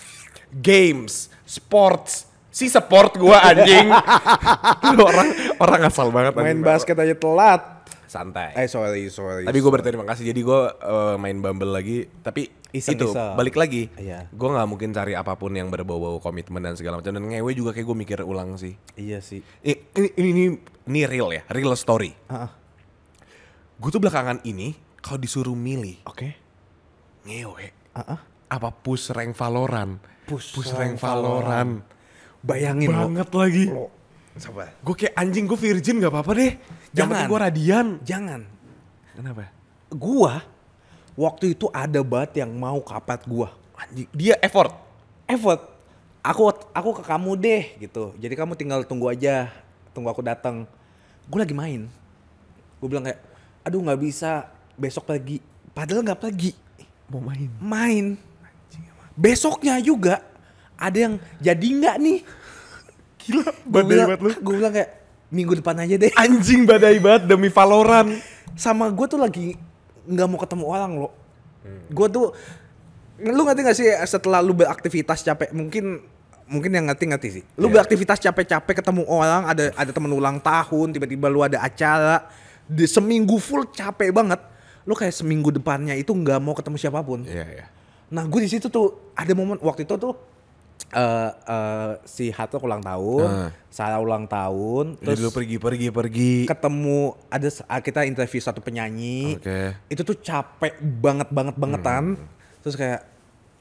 Speaker 1: Games, sports, Si support gua anjing. Lu orang orang asal banget
Speaker 2: Main
Speaker 1: anjing.
Speaker 2: basket aja telat.
Speaker 1: santai.
Speaker 2: Eh sorry sorry.
Speaker 1: Tapi gue berterima kasih jadi gue eh, main Bumble lagi. Tapi itu
Speaker 2: Iseng-iseng.
Speaker 1: balik lagi.
Speaker 2: Iya.
Speaker 1: Gue nggak mungkin cari apapun yang berbau-bau komitmen dan segala macam. Dan ngewe juga kayak gue mikir ulang sih.
Speaker 2: Iya sih.
Speaker 1: I- Ini ini ini, ini real ya, real story.
Speaker 2: Ah, ah.
Speaker 1: Gue tuh belakangan ini kalau disuruh milih oh,
Speaker 2: Oke.
Speaker 1: ngewe
Speaker 2: Ah, ah.
Speaker 1: apa push rank Valorant.
Speaker 2: Push
Speaker 1: rank
Speaker 2: rank
Speaker 1: Valorant.
Speaker 2: Bayangin lo.
Speaker 1: Banget lagi.
Speaker 2: Lo. Coba.
Speaker 1: Gue kayak anjing gue virgin gak apa-apa deh.
Speaker 2: Jangan.
Speaker 1: Jangan. Gue radian.
Speaker 2: Jangan.
Speaker 1: Kenapa?
Speaker 2: Gua waktu itu ada banget yang mau kapat gua.
Speaker 1: Anjing. Dia effort.
Speaker 2: Effort. Aku aku ke kamu deh gitu. Jadi kamu tinggal tunggu aja. Tunggu aku datang. Gue lagi main. Gue bilang kayak, aduh nggak bisa besok pagi. Padahal nggak pagi.
Speaker 1: Mau main.
Speaker 2: main. Besoknya juga ada yang jadi nggak nih?
Speaker 1: Gila.
Speaker 2: Gue
Speaker 1: Badai
Speaker 2: bilang,
Speaker 1: banget lu.
Speaker 2: gua bilang kayak minggu depan aja deh.
Speaker 1: Anjing badai banget demi Valorant.
Speaker 2: Sama gue tuh lagi nggak mau ketemu orang lo.
Speaker 1: Hmm.
Speaker 2: Gue tuh lu ngerti gak sih setelah lu beraktivitas capek mungkin mungkin yang ngerti ngerti sih. Lu
Speaker 1: Iya.
Speaker 2: beraktivitas capek-capek ketemu orang ada ada temen ulang tahun tiba-tiba lu ada acara di seminggu full capek banget. Lu kayak seminggu depannya itu nggak mau ketemu siapapun.
Speaker 1: Iya, iya.
Speaker 2: Nah gue di situ tuh ada momen waktu itu tuh eh eh, si Hatok ulang
Speaker 1: Ah.
Speaker 2: tahun, Sarah ulang tahun,
Speaker 1: Terus
Speaker 2: terus
Speaker 1: lu pergi, pergi, pergi.
Speaker 2: ketemu ada s- ah, kita interview satu penyanyi,
Speaker 1: Oke. Hmm.
Speaker 2: itu tuh capek banget banget bangetan, terus kayak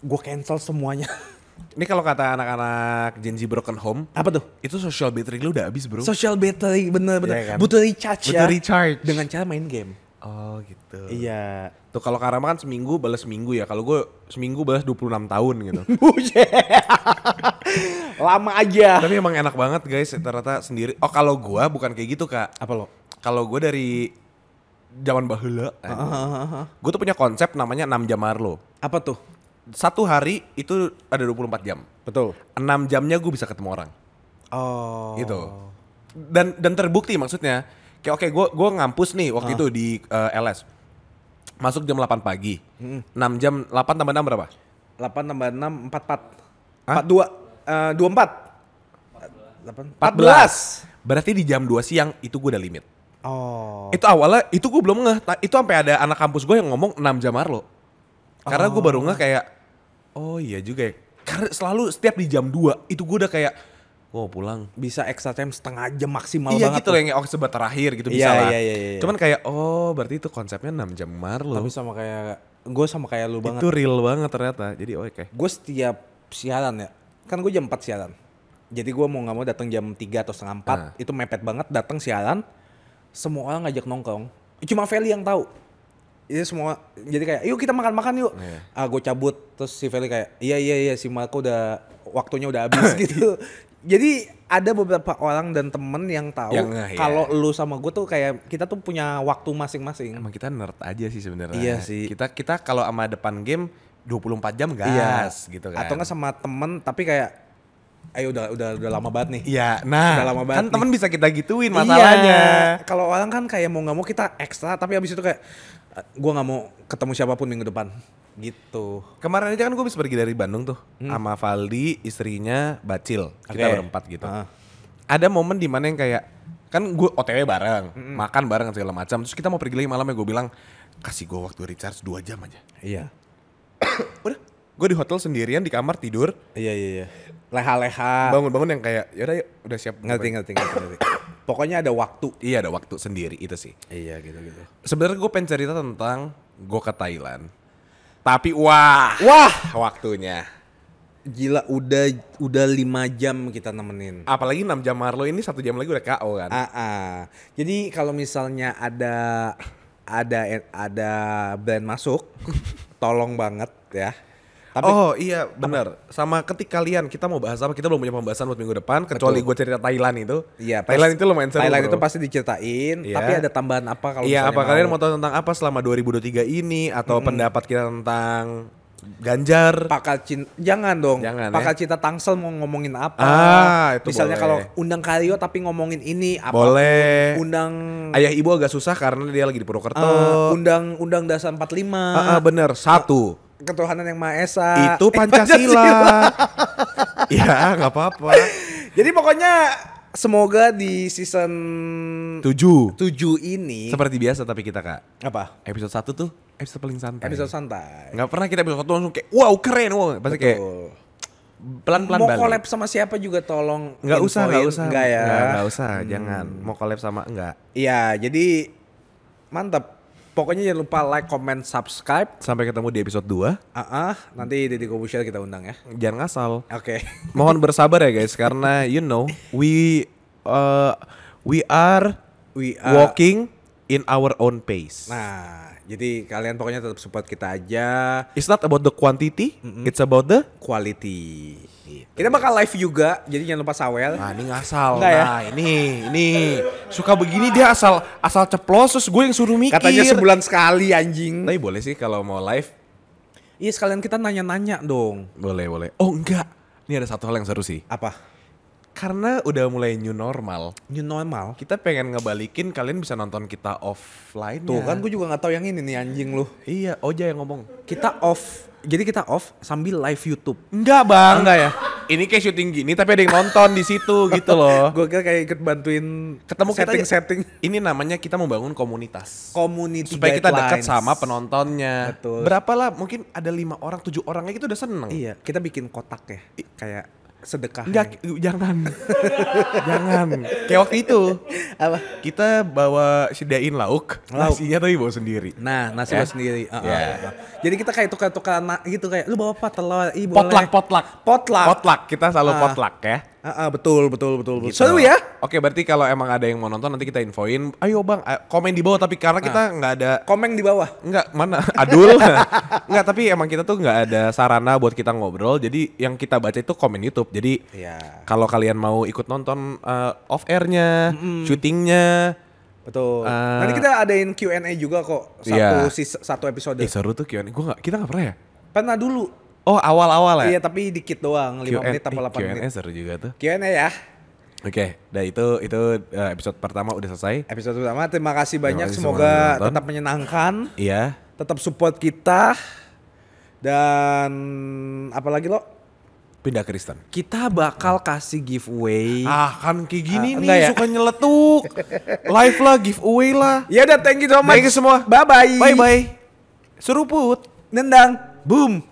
Speaker 2: gue cancel semuanya.
Speaker 1: Ini kalau kata anak-anak Gen Z broken home,
Speaker 2: Apa tuh?
Speaker 1: itu social battery lu udah habis, bro.
Speaker 2: Social battery bener-bener
Speaker 1: Iya kan?
Speaker 2: butuh recharge
Speaker 1: Butuh
Speaker 2: ya.
Speaker 1: recharge.
Speaker 2: Dengan cara main game.
Speaker 1: oh, gitu.
Speaker 2: Iya.
Speaker 1: Tuh kalau Karama kan seminggu balas seminggu ya. Kalau gue seminggu balas 26 tahun gitu.
Speaker 2: Buset. Lama aja.
Speaker 1: Tapi emang enak banget guys ternyata sendiri. Oh, kalau gua bukan kayak gitu, Kak.
Speaker 2: Apa lo?
Speaker 1: Kalau gua dari zaman bahula,
Speaker 2: Eh.
Speaker 1: gue tuh punya konsep namanya 6 jam Marlo.
Speaker 2: Apa tuh?
Speaker 1: Satu hari itu ada 24 jam.
Speaker 2: Betul.
Speaker 1: 6 jamnya gue bisa ketemu orang.
Speaker 2: Oh.
Speaker 1: gitu dan dan terbukti maksudnya kayak oke gue gue ngampus nih waktu itu di eh, LS masuk jam 8 pagi
Speaker 2: Hmm.
Speaker 1: 6 jam 8 tambah 6 berapa
Speaker 2: 8 tambah 6, 44.
Speaker 1: Hah?
Speaker 2: 42, eh 24. 14.
Speaker 1: 14 berarti di jam 2 siang itu gue udah limit
Speaker 2: Oh.
Speaker 1: itu awalnya itu gue belum ngeh Ta- itu sampai ada anak kampus gue yang ngomong 6 jam Marlo karena gue baru ngeh kayak oh iya juga ya karena selalu setiap di jam 2 itu gue udah kayak wow pulang
Speaker 2: Bisa extra time setengah jam maksimal
Speaker 1: iya
Speaker 2: banget.
Speaker 1: gitu loh yang kayak, oh sebat terakhir gitu
Speaker 2: Iya,
Speaker 1: bisa lah.
Speaker 2: iya, iya, iya.
Speaker 1: Cuman kayak oh berarti itu konsepnya 6 jam Marlo.
Speaker 2: Tapi sama kayak gue sama kayak lu banget.
Speaker 1: gitu. Itu real banget ternyata. Jadi oh, oke.
Speaker 2: Gue setiap siaran ya. Kan gue jam 4 siaran. Jadi gue mau nggak mau datang jam 3 atau setengah 4.
Speaker 1: Ah.
Speaker 2: Itu mepet banget datang siaran. Semua orang ngajak nongkrong. Cuma Feli yang tahu. Iya semua. Jadi kayak, yuk kita makan-makan yuk.
Speaker 1: Iya.
Speaker 2: Ah, gue cabut. Terus si Feli kayak, iya iya iya si Marco udah waktunya udah habis gitu. Jadi ada beberapa orang dan temen yang tahu
Speaker 1: Yang ngeh, ya.
Speaker 2: kalau lu sama gue tuh kayak kita tuh punya waktu masing-masing.
Speaker 1: Emang kita nerd aja sih sebenarnya.
Speaker 2: Iya sih. Iya.
Speaker 1: Kita kita kalau sama depan game 24 jam gas gitu kan.
Speaker 2: Atau nggak sama temen tapi kayak, ayo udah udah udah lama banget nih.
Speaker 1: Iya, nah
Speaker 2: Udah lama banget
Speaker 1: kan
Speaker 2: nih.
Speaker 1: teman bisa kita gituin masalahnya.
Speaker 2: Iya. Kalau orang kan kayak mau nggak mau kita ekstra, tapi abis itu kayak "Eh, gua nggak mau ketemu siapapun minggu depan. Gitu.
Speaker 1: Kemarin aja kan gue bisa pergi dari Bandung tuh sama Valdi, istrinya Bacil. Kita
Speaker 2: Hmm. Oke.
Speaker 1: berempat gitu.
Speaker 2: Ah.
Speaker 1: Ada momen dimana yang kayak kan gue OTW bareng,
Speaker 2: Hmm.
Speaker 1: makan bareng segala macam. Terus kita mau pergi lagi malamnya gue bilang kasih gue waktu recharge 2 jam aja.
Speaker 2: Iya.
Speaker 1: Udah, gue di hotel sendirian di kamar tidur.
Speaker 2: Iya iya iya. Leha-leha.
Speaker 1: Bangun-bangun yang kayak yaudah yuk udah siap
Speaker 2: Ah. Ngerti ngerti ngerti. ngerti. Pokoknya ada waktu.
Speaker 1: Iya ada waktu sendiri itu sih.
Speaker 2: Iya gitu gitu.
Speaker 1: Sebenarnya gue pengen cerita tentang gue ke Thailand. Tapi wah,
Speaker 2: Wah,
Speaker 1: waktunya.
Speaker 2: gila udah udah 5 jam kita nemenin.
Speaker 1: Apalagi 6 jam Marlo ini satu jam lagi udah KO kan.
Speaker 2: Ah, ah. Jadi kalau misalnya ada ada ada brand masuk, tolong banget ya. Tapi
Speaker 1: oh iya bener. Sama ketik kalian kita mau bahas apa kita belum punya pembahasan buat minggu depan. Kecuali gue cerita Thailand itu.
Speaker 2: Iya,
Speaker 1: Thailand
Speaker 2: pas-
Speaker 1: itu lumayan seru.
Speaker 2: Thailand
Speaker 1: bro.
Speaker 2: itu pasti diceritain,
Speaker 1: Iya.
Speaker 2: tapi ada tambahan apa kalau
Speaker 1: Iya
Speaker 2: misalnya
Speaker 1: apa kalian mau tahu tentang apa selama 2023 ini atau pendapat kita tentang Ganjar?
Speaker 2: Pakal Cin- jangan dong.
Speaker 1: Jangan, ya.
Speaker 2: Pakal Cinta Tangsel mau ngomongin apa?
Speaker 1: Ah, itu
Speaker 2: misalnya
Speaker 1: boleh.
Speaker 2: kalau undang Karyo tapi ngomongin ini apa?
Speaker 1: Boleh.
Speaker 2: Undang
Speaker 1: Ayah ibu agak susah karena dia lagi di Purwokerto.
Speaker 2: eh, undang undang dasar 45.
Speaker 1: Ah, ah, bener satu. Eh,
Speaker 2: Ketuhanan yang Maha Esa. Eh, Ya,
Speaker 1: itu Pancasila. Iya, nggak apa-apa.
Speaker 2: Jadi pokoknya semoga di season
Speaker 1: 7
Speaker 2: 7 ini
Speaker 1: Seperti biasa tapi kita kak
Speaker 2: apa?
Speaker 1: Episode 1 tuh episode paling santai
Speaker 2: Episode santai.
Speaker 1: Nggak pernah kita episode 1 langsung kayak wow keren wow Pasti kayak
Speaker 2: Betul.
Speaker 1: pelan-pelan
Speaker 2: mau
Speaker 1: balik
Speaker 2: collab sama siapa juga tolong
Speaker 1: Nggak usah,
Speaker 2: infoin.
Speaker 1: nggak usah
Speaker 2: Nggak ya
Speaker 1: Nggak, nggak usah, jangan Mau collab sama enggak
Speaker 2: Iya jadi mantap Pokoknya jangan lupa like, comment, subscribe
Speaker 1: Sampai ketemu di episode 2
Speaker 2: Ah, ah, nanti Deddy Kobusher kita undang ya
Speaker 1: Jangan ngasal
Speaker 2: Oke
Speaker 1: Mohon bersabar ya guys Karena you know We uh, We are
Speaker 2: We are
Speaker 1: Walking in our own pace
Speaker 2: Nah jadi kalian pokoknya tetap support kita aja
Speaker 1: It's not about the quantity It's about the
Speaker 2: Quality Kita bakal live juga Jadi jangan lupa sawel
Speaker 1: Gitu. Nah ini ngasal
Speaker 2: Nggak ya?
Speaker 1: Nah ini Ini Suka begini dia asal Asal ceplos Terus gue yang suruh mikir
Speaker 2: Katanya sebulan sekali anjing
Speaker 1: Tapi boleh sih kalau mau live
Speaker 2: Iya sekalian kita nanya-nanya dong
Speaker 1: Boleh boleh Oh enggak Ini ada satu hal yang seru sih
Speaker 2: Apa?
Speaker 1: Karena udah mulai new normal
Speaker 2: New normal?
Speaker 1: Kita pengen ngebalikin Kalian bisa nonton kita offline
Speaker 2: Tuh kan gue juga gak tahu yang ini nih anjing lu
Speaker 1: Iya Oja yang ngomong
Speaker 2: Kita off Jadi kita off sambil live Youtube
Speaker 1: Enggak bang
Speaker 2: Enggak ya?
Speaker 1: Ini kayak syuting gini Tapi ada yang nonton di situ gitu loh
Speaker 2: Gue kira kayak ikut bantuin
Speaker 1: Ketemu kita
Speaker 2: setting setting
Speaker 1: Ini namanya kita membangun komunitas
Speaker 2: community
Speaker 1: supaya kita dekat
Speaker 2: guidelines.
Speaker 1: sama penontonnya.
Speaker 2: Betul.
Speaker 1: Berapa lah? Mungkin ada lima orang, tujuh orangnya kita udah seneng.
Speaker 2: Iya, kita bikin kotak ya, kayak sedekah.
Speaker 1: Enggak, jangan, jangan. Kayak waktu itu
Speaker 2: Apa?
Speaker 1: kita bawa sediain lauk,
Speaker 2: Lauk.
Speaker 1: nasinya tapi bawa sendiri.
Speaker 2: Nah, nasi
Speaker 1: Ya?
Speaker 2: lo sendiri. Heeh.
Speaker 1: Ya.
Speaker 2: ah. Jadi kita kayak tukar-tukar na- gitu kayak lu bawa apa telur? Ih, boleh.
Speaker 1: Potluck, potluck,
Speaker 2: Potluck.
Speaker 1: Potluck, kita selalu
Speaker 2: Ah.
Speaker 1: potluck ya.
Speaker 2: Ah, ah, betul, betul, betul, betul.
Speaker 1: Gitu.
Speaker 2: Seru ya?
Speaker 1: Oke, berarti kalau emang ada yang mau nonton nanti kita infoin. Ah. Ayo bang, a- komen di bawah. Tapi karena kita nggak ada
Speaker 2: Komeng di bawah.
Speaker 1: Enggak, mana? Adul. Enggak, tapi emang kita tuh enggak ada sarana buat kita ngobrol. Jadi yang kita baca itu komen YouTube. Jadi
Speaker 2: Iya.
Speaker 1: kalau kalian mau ikut nonton eh, off airnya, syutingnya,
Speaker 2: Betul.
Speaker 1: Ah.
Speaker 2: Nanti kita adain Q&A juga kok satu
Speaker 1: Iya.
Speaker 2: sis- satu episode.
Speaker 1: eh seru tuh Q&A. Gua nggak, kita nggak pernah ya?
Speaker 2: Pernah dulu.
Speaker 1: Oh awal-awal ya?
Speaker 2: Iya, tapi dikit doang, 5 menit apa 8
Speaker 1: Q&A
Speaker 2: menit.
Speaker 1: seru juga tuh.
Speaker 2: Q&A ya.
Speaker 1: Oke, dah itu itu eh, episode pertama udah selesai.
Speaker 2: Episode pertama terima kasih
Speaker 1: Terima
Speaker 2: banyak.
Speaker 1: kasih semua yang
Speaker 2: Semoga
Speaker 1: nonton.
Speaker 2: tetap menyenangkan.
Speaker 1: Iya.
Speaker 2: tetap support kita dan apalagi lo
Speaker 1: Pindah Kristen.
Speaker 2: kita bakal kasih giveaway
Speaker 1: Ah kan kayak gini nih
Speaker 2: Ah, enggak ya?
Speaker 1: suka nyeletuk. Live lah, giveaway lah.
Speaker 2: ya udah thank you so much
Speaker 1: Thank you semua.
Speaker 2: bye bye
Speaker 1: Bye bye. Seruput.
Speaker 2: nendang boom